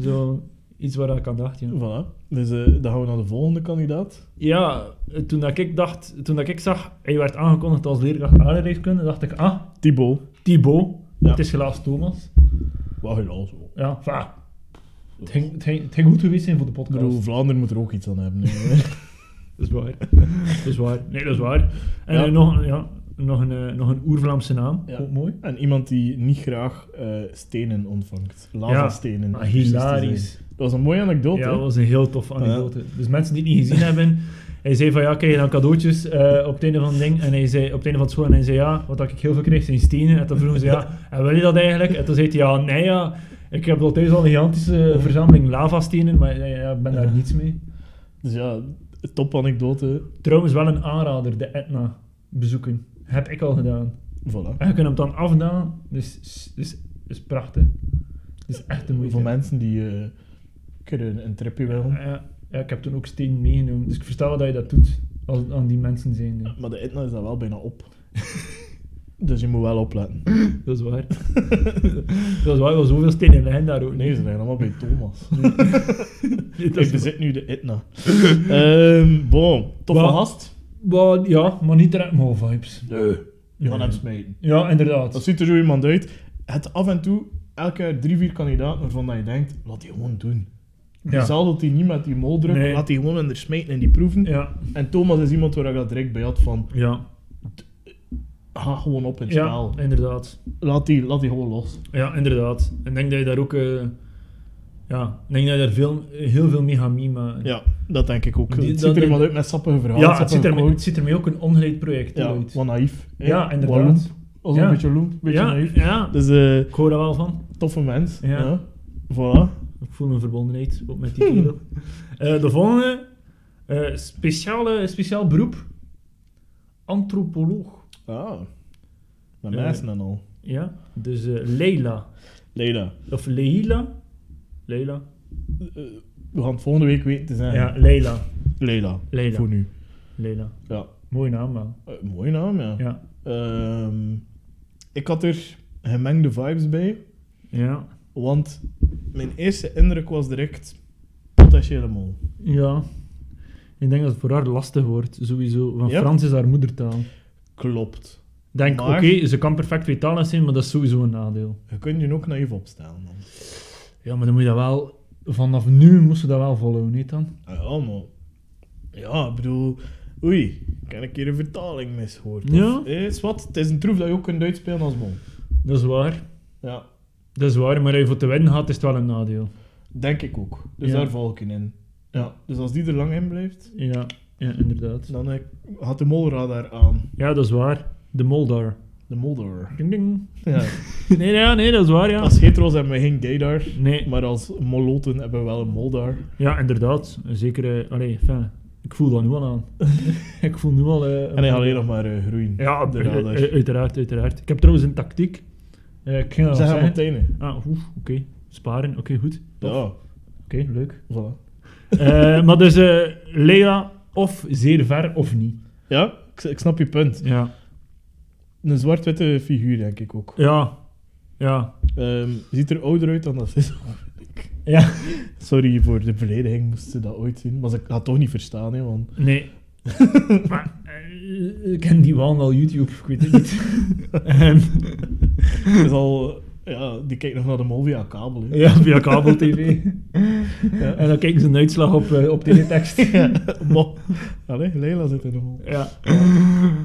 Speaker 2: zo iets waar ik aan dacht, ja.
Speaker 1: voilà. Dus eh, dan gaan we naar de volgende kandidaat.
Speaker 2: Ja, eh, toen dat ik dacht, toen dat ik zag, hij werd aangekondigd als leerkracht aardrijkskunde, dacht ik, ah,
Speaker 1: Thibaut.
Speaker 2: Thibaut,
Speaker 1: Ja.
Speaker 2: het is helaas Thomas.
Speaker 1: Wat helaas wel.
Speaker 2: Ja, enfin, het ging, het, ging, het ging goed geweest zijn voor de
Speaker 1: Ik bedoel,
Speaker 2: podcast.
Speaker 1: Vlaanderen moet er ook iets aan hebben. hè.
Speaker 2: Dat is waar. dat is waar. Nee, dat is waar. En
Speaker 1: Ja.
Speaker 2: eh, nog, ja, nog een, eh, nog een oer-Vlaamse naam.
Speaker 1: Ja.
Speaker 2: Ook mooi.
Speaker 1: En iemand die niet graag eh, stenen ontvangt. Lavastenen.
Speaker 2: Maar
Speaker 1: om precies te
Speaker 2: hilarisch.
Speaker 1: zijn. Dat was een mooie anekdote.
Speaker 2: Ja,
Speaker 1: hè?
Speaker 2: dat was een heel toffe anekdote. Dus mensen die het niet gezien hebben, hij zei van ja, krijg je dan cadeautjes eh, op het einde van het ding. En hij zei, op het einde van het school, en hij zei ja, wat ik heel veel kreeg zijn stenen. En toen vroegen ze ja, en wil je dat eigenlijk? En toen zei hij ja, nee ja, ik heb al thuis al een gigantische verzameling lavastenen, maar ja, ja, ik ben daar
Speaker 1: Ja.
Speaker 2: niets mee.
Speaker 1: Dus ja, top anekdote.
Speaker 2: Trouwens wel een aanrader, de Etna bezoeken. Heb ik al gedaan.
Speaker 1: Voilà.
Speaker 2: En je kunt hem dan afdaan, dus is dus, dus prachtig. Dus echt een moeite.
Speaker 1: Voor mensen die eh, kunnen een tripje willen.
Speaker 2: Ja, ja, ik heb toen ook steen meegenomen, dus ik versta wel dat je dat doet als het aan die mensen zijn. hè.
Speaker 1: Maar de Etna is daar wel bijna op. dus je moet wel opletten.
Speaker 2: Dat is waar. dat is waar, wel zoveel stenen liggen daar ook.
Speaker 1: Nee, ze zijn allemaal bij Thomas.
Speaker 2: dat
Speaker 1: Ik
Speaker 2: is-
Speaker 1: bezit nu de Etna. Ehm bon, toffe
Speaker 2: Wat?
Speaker 1: gast.
Speaker 2: Maar ja, maar niet direct mol vibes.
Speaker 1: Nee. Je gaat
Speaker 2: Nee.
Speaker 1: hem smijten.
Speaker 2: Ja,
Speaker 1: Dat
Speaker 2: inderdaad.
Speaker 1: ziet er zo iemand uit. Het af en toe, elk jaar drie, vier kandidaten waarvan dat je denkt, laat die gewoon doen.
Speaker 2: Ja.
Speaker 1: Zal dat hij niet met die mol drukt,
Speaker 2: Nee.
Speaker 1: laat die gewoon in de smijten en die proeven.
Speaker 2: Ja.
Speaker 1: En Thomas is iemand waar ik dat direct bij had van,
Speaker 2: Ja.
Speaker 1: ga gewoon op in het
Speaker 2: ja,
Speaker 1: spel.
Speaker 2: inderdaad.
Speaker 1: Laat die, laat die gewoon los.
Speaker 2: Ja, inderdaad. En ik denk dat je daar ook... eh, ja, ik denk dat je daar veel, heel veel mee gaat meemaken.
Speaker 1: Ja, dat denk ik ook.
Speaker 2: Die-
Speaker 1: het ziet
Speaker 2: dat-
Speaker 1: er iemand uit met sappige verhalen.
Speaker 2: Ja, het
Speaker 1: sappige
Speaker 2: ziet, er,
Speaker 1: quotes.
Speaker 2: het ziet ermee ook een ongeleid project
Speaker 1: Ja,
Speaker 2: uit.
Speaker 1: wat naïef. hè?
Speaker 2: Ja,
Speaker 1: Wat loemp.
Speaker 2: inderdaad.
Speaker 1: Als een
Speaker 2: Ja.
Speaker 1: beetje loemp, een beetje
Speaker 2: Ja,
Speaker 1: naïef.
Speaker 2: ja,
Speaker 1: Dus eh
Speaker 2: ik hoor daar wel van.
Speaker 1: toffe mens. Ja.
Speaker 2: Ja.
Speaker 1: Voilà.
Speaker 2: Ik voel een verbondenheid ook met die kerel. Eh, de volgende, eh, speciale, speciaal beroep, antropoloog.
Speaker 1: Ah. Met
Speaker 2: Ja.
Speaker 1: mensen en al.
Speaker 2: Ja, dus eh, Leila,
Speaker 1: Leila,
Speaker 2: of Leila, Leila,
Speaker 1: eh, we gaan het volgende week weten te zijn.
Speaker 2: ja, Leila,
Speaker 1: Leila,
Speaker 2: Leila.
Speaker 1: voor nu.
Speaker 2: Leila.
Speaker 1: Ja.
Speaker 2: Mooie naam wel.
Speaker 1: Eh, mooie naam, ja.
Speaker 2: Ja,
Speaker 1: Ehm, ik had er gemengde vibes bij,
Speaker 2: ja,
Speaker 1: want mijn eerste indruk was direct potentiële mol.
Speaker 2: ja. Ik denk dat het voor haar lastig wordt, sowieso, want
Speaker 1: Ja?
Speaker 2: Frans is haar moedertaal.
Speaker 1: Klopt.
Speaker 2: Denk, oké,
Speaker 1: Maar-
Speaker 2: ze kan perfect tweetalig zijn, maar dat is sowieso een nadeel.
Speaker 1: Je kunt je ook naïef opstellen dan.
Speaker 2: Ja, maar dan moet je dat wel, vanaf nu moest ze dat wel volgen, niet dan?
Speaker 1: Ah ja, maar... Ja, ik bedoel... Oei, ik heb een keer een vertaling misgehoord.
Speaker 2: Ja.
Speaker 1: Of, eh, is wat, het is een troef dat je ook kunt uitspelen als mol.
Speaker 2: Dat is waar.
Speaker 1: Ja,
Speaker 2: Dat is waar, maar als je voor te winnen gaat, is het wel een nadeel.
Speaker 1: denk ik ook. Dus
Speaker 2: Ja.
Speaker 1: daar val ik in in. Ja, dus als die er lang in blijft,
Speaker 2: Ja, ja inderdaad.
Speaker 1: dan eh, gaat de molradar aan.
Speaker 2: Ja, dat is waar. De Moldar.
Speaker 1: De moldar.
Speaker 2: Ding ding.
Speaker 1: Ja.
Speaker 2: Nee, ja, nee, dat is waar, ja.
Speaker 1: Als hetero's hebben we geen gaydar,
Speaker 2: Nee,
Speaker 1: maar als moloten hebben we wel een moldar.
Speaker 2: ja, inderdaad. Zeker, eh allee, fijn. Ik voel dat nu al aan. ik voel nu al... eh,
Speaker 1: En hij gaat alleen nog dus. maar eh, groeien.
Speaker 2: Ja,
Speaker 1: de
Speaker 2: eh, eh,
Speaker 1: radar.
Speaker 2: uiteraard, uiteraard. Ik heb trouwens een tactiek. Eh, ik ging dat
Speaker 1: Zeg
Speaker 2: al
Speaker 1: hem op het
Speaker 2: zeggen.
Speaker 1: einde.
Speaker 2: Ah, oef, oké. Sparen, oké, goed. Tof. Oké,
Speaker 1: Ja,
Speaker 2: leuk.
Speaker 1: voilà.
Speaker 2: Eh, maar dus, eh Leila, of zeer ver, of niet.
Speaker 1: Ja, ik, ik snap je punt.
Speaker 2: Ja.
Speaker 1: Een zwart-witte figuur, denk ik ook.
Speaker 2: Ja. Ja.
Speaker 1: Ehm, ziet er ouder uit dan dat ze is.
Speaker 2: Ja.
Speaker 1: Sorry voor de belediging, moest ze dat ooit zien. Maar ze had toch niet verstaan, hè, want...
Speaker 2: Nee. maar eh, ik ken die wel al YouTube, ik weet het niet. Ehm,
Speaker 1: Het is al... Ja, die kijkt nog naar de mol via kabel, hè.
Speaker 2: ja, via kabel-tv.
Speaker 1: Ja.
Speaker 2: En dan kijken ze een uitslag op, eh, op teletext.
Speaker 1: Ja, mo. Allee, Leila zit in de mol.
Speaker 2: ja.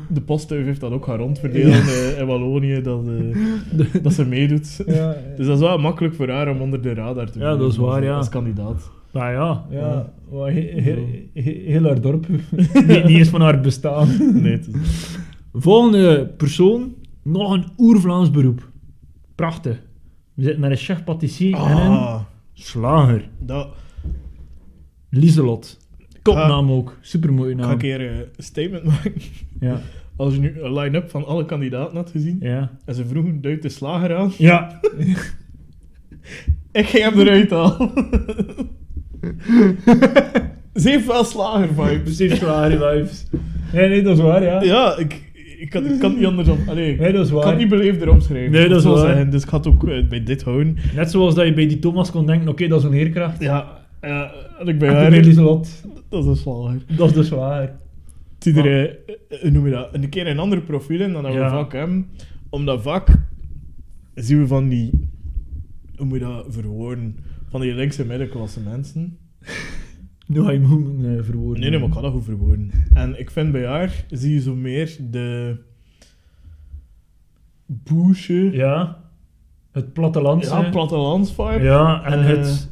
Speaker 1: De postduif heeft dat ook gaan rondverdelen eh, in Wallonië, dat, eh, dat ze meedoet.
Speaker 2: Ja,
Speaker 1: Dus dat is wel makkelijk voor haar om onder de radar te
Speaker 2: Ja,
Speaker 1: blijven
Speaker 2: dat is waar,
Speaker 1: als-
Speaker 2: ja.
Speaker 1: Als kandidaat.
Speaker 2: Maar ja,
Speaker 1: Ja.
Speaker 2: ja. maar he- he- he- heel haar dorp. niet, niet eens van haar bestaan.
Speaker 1: Nee, het is-
Speaker 2: Volgende persoon, nog een oer-Vlaams beroep. Prachtig. We zitten met een chef-patissier en een
Speaker 1: Ah,
Speaker 2: slager.
Speaker 1: dat...
Speaker 2: Lieselot. Kopnaam ook. Supermooie
Speaker 1: Ik ga een
Speaker 2: naam.
Speaker 1: keer eh, een statement maken.
Speaker 2: Ja.
Speaker 1: Als je nu een line-up van alle kandidaten had gezien,
Speaker 2: Ja.
Speaker 1: en ze vroegen duidt de slager aan,
Speaker 2: Ja,
Speaker 1: Ik ging hem eruit halen. Ze heeft wel slagervibes.
Speaker 2: Precies waar, die vibes. Nee, nee, dat is waar, ja.
Speaker 1: Ja, ik, ik, kan, ik kan het niet anders om... Allee,
Speaker 2: Nee, dat is
Speaker 1: Ik kan
Speaker 2: waar.
Speaker 1: het niet beleefd erop schrijven.
Speaker 2: Nee, dat is
Speaker 1: Zo
Speaker 2: waar.
Speaker 1: zeggen, dus ik ga het ook eh, bij dit houden.
Speaker 2: Net zoals dat je bij die Thomas kon denken, oké, dat is een leerkracht.
Speaker 1: Ja, eh, en ik ben
Speaker 2: En
Speaker 1: haar.
Speaker 2: bij Lieselot,
Speaker 1: Dat is een slager.
Speaker 2: dat is dus waar.
Speaker 1: Het ziet er, eh, eh, hoe noem je dat, een keer een ander profiel in dan dat we
Speaker 2: Ja.
Speaker 1: vaak hebben. Omdat vaak zien we van die... Hoe moet je dat verwoorden? Van die linkse middenklasse mensen.
Speaker 2: Nu ga je hem eh, verwoorden.
Speaker 1: Nee, nee, maar ik kan dat goed verwoorden. En ik vind bij haar zie je zo meer de, Boesje.
Speaker 2: Ja. Het platteland.
Speaker 1: Ja, plattelandsvibe.
Speaker 2: Ja, en
Speaker 1: Eh,
Speaker 2: het...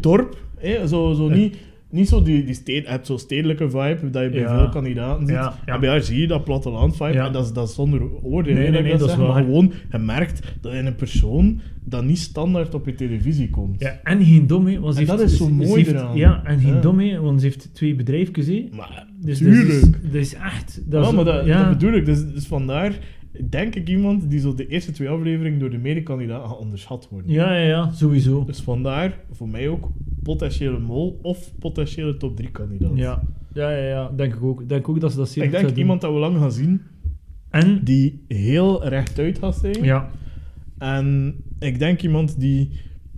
Speaker 1: dorp. Hè? Zo, zo niet, niet zo die, die steden, je hebt zo'n stedelijke vibe dat je bij
Speaker 2: Ja.
Speaker 1: veel kandidaten ziet.
Speaker 2: Ja, ja.
Speaker 1: En bij haar zie je dat platteland vibe.
Speaker 2: Ja.
Speaker 1: En dat is, dat is zonder oordeel.
Speaker 2: Nee,
Speaker 1: hè,
Speaker 2: nee,
Speaker 1: ik
Speaker 2: nee, dat is
Speaker 1: zeg, Maar
Speaker 2: waar.
Speaker 1: gewoon, je merkt dat je een persoon dat niet standaard op je televisie komt.
Speaker 2: Ja, en geen dom, hè, want ze
Speaker 1: En
Speaker 2: heeft-
Speaker 1: dat is zo
Speaker 2: ze- ze
Speaker 1: mooi
Speaker 2: heeft-
Speaker 1: eraan.
Speaker 2: Ja, en geen
Speaker 1: Ja.
Speaker 2: dom, hè, want ze heeft twee bedrijfjes, hè.
Speaker 1: Maar,
Speaker 2: Dus
Speaker 1: tuurlijk.
Speaker 2: dat is, dat is echt... Dat
Speaker 1: ja,
Speaker 2: is,
Speaker 1: maar dat,
Speaker 2: ja.
Speaker 1: dat bedoel ik. Dus, dus vandaar denk ik iemand die zo de eerste twee afleveringen door de medekandidaten gaat onderschat worden.
Speaker 2: Ja, ja, ja, sowieso.
Speaker 1: Dus vandaar voor mij ook potentiële mol of potentiële top 3 kandidaat.
Speaker 2: Ja. Ja, ja, ja, denk ik ook. Denk ook dat ze dat zeer
Speaker 1: Ik
Speaker 2: goed
Speaker 1: denk
Speaker 2: zou doen.
Speaker 1: iemand dat we lang gaan zien,
Speaker 2: En...
Speaker 1: die heel rechtuit gaat zijn.
Speaker 2: Ja.
Speaker 1: En ik denk iemand die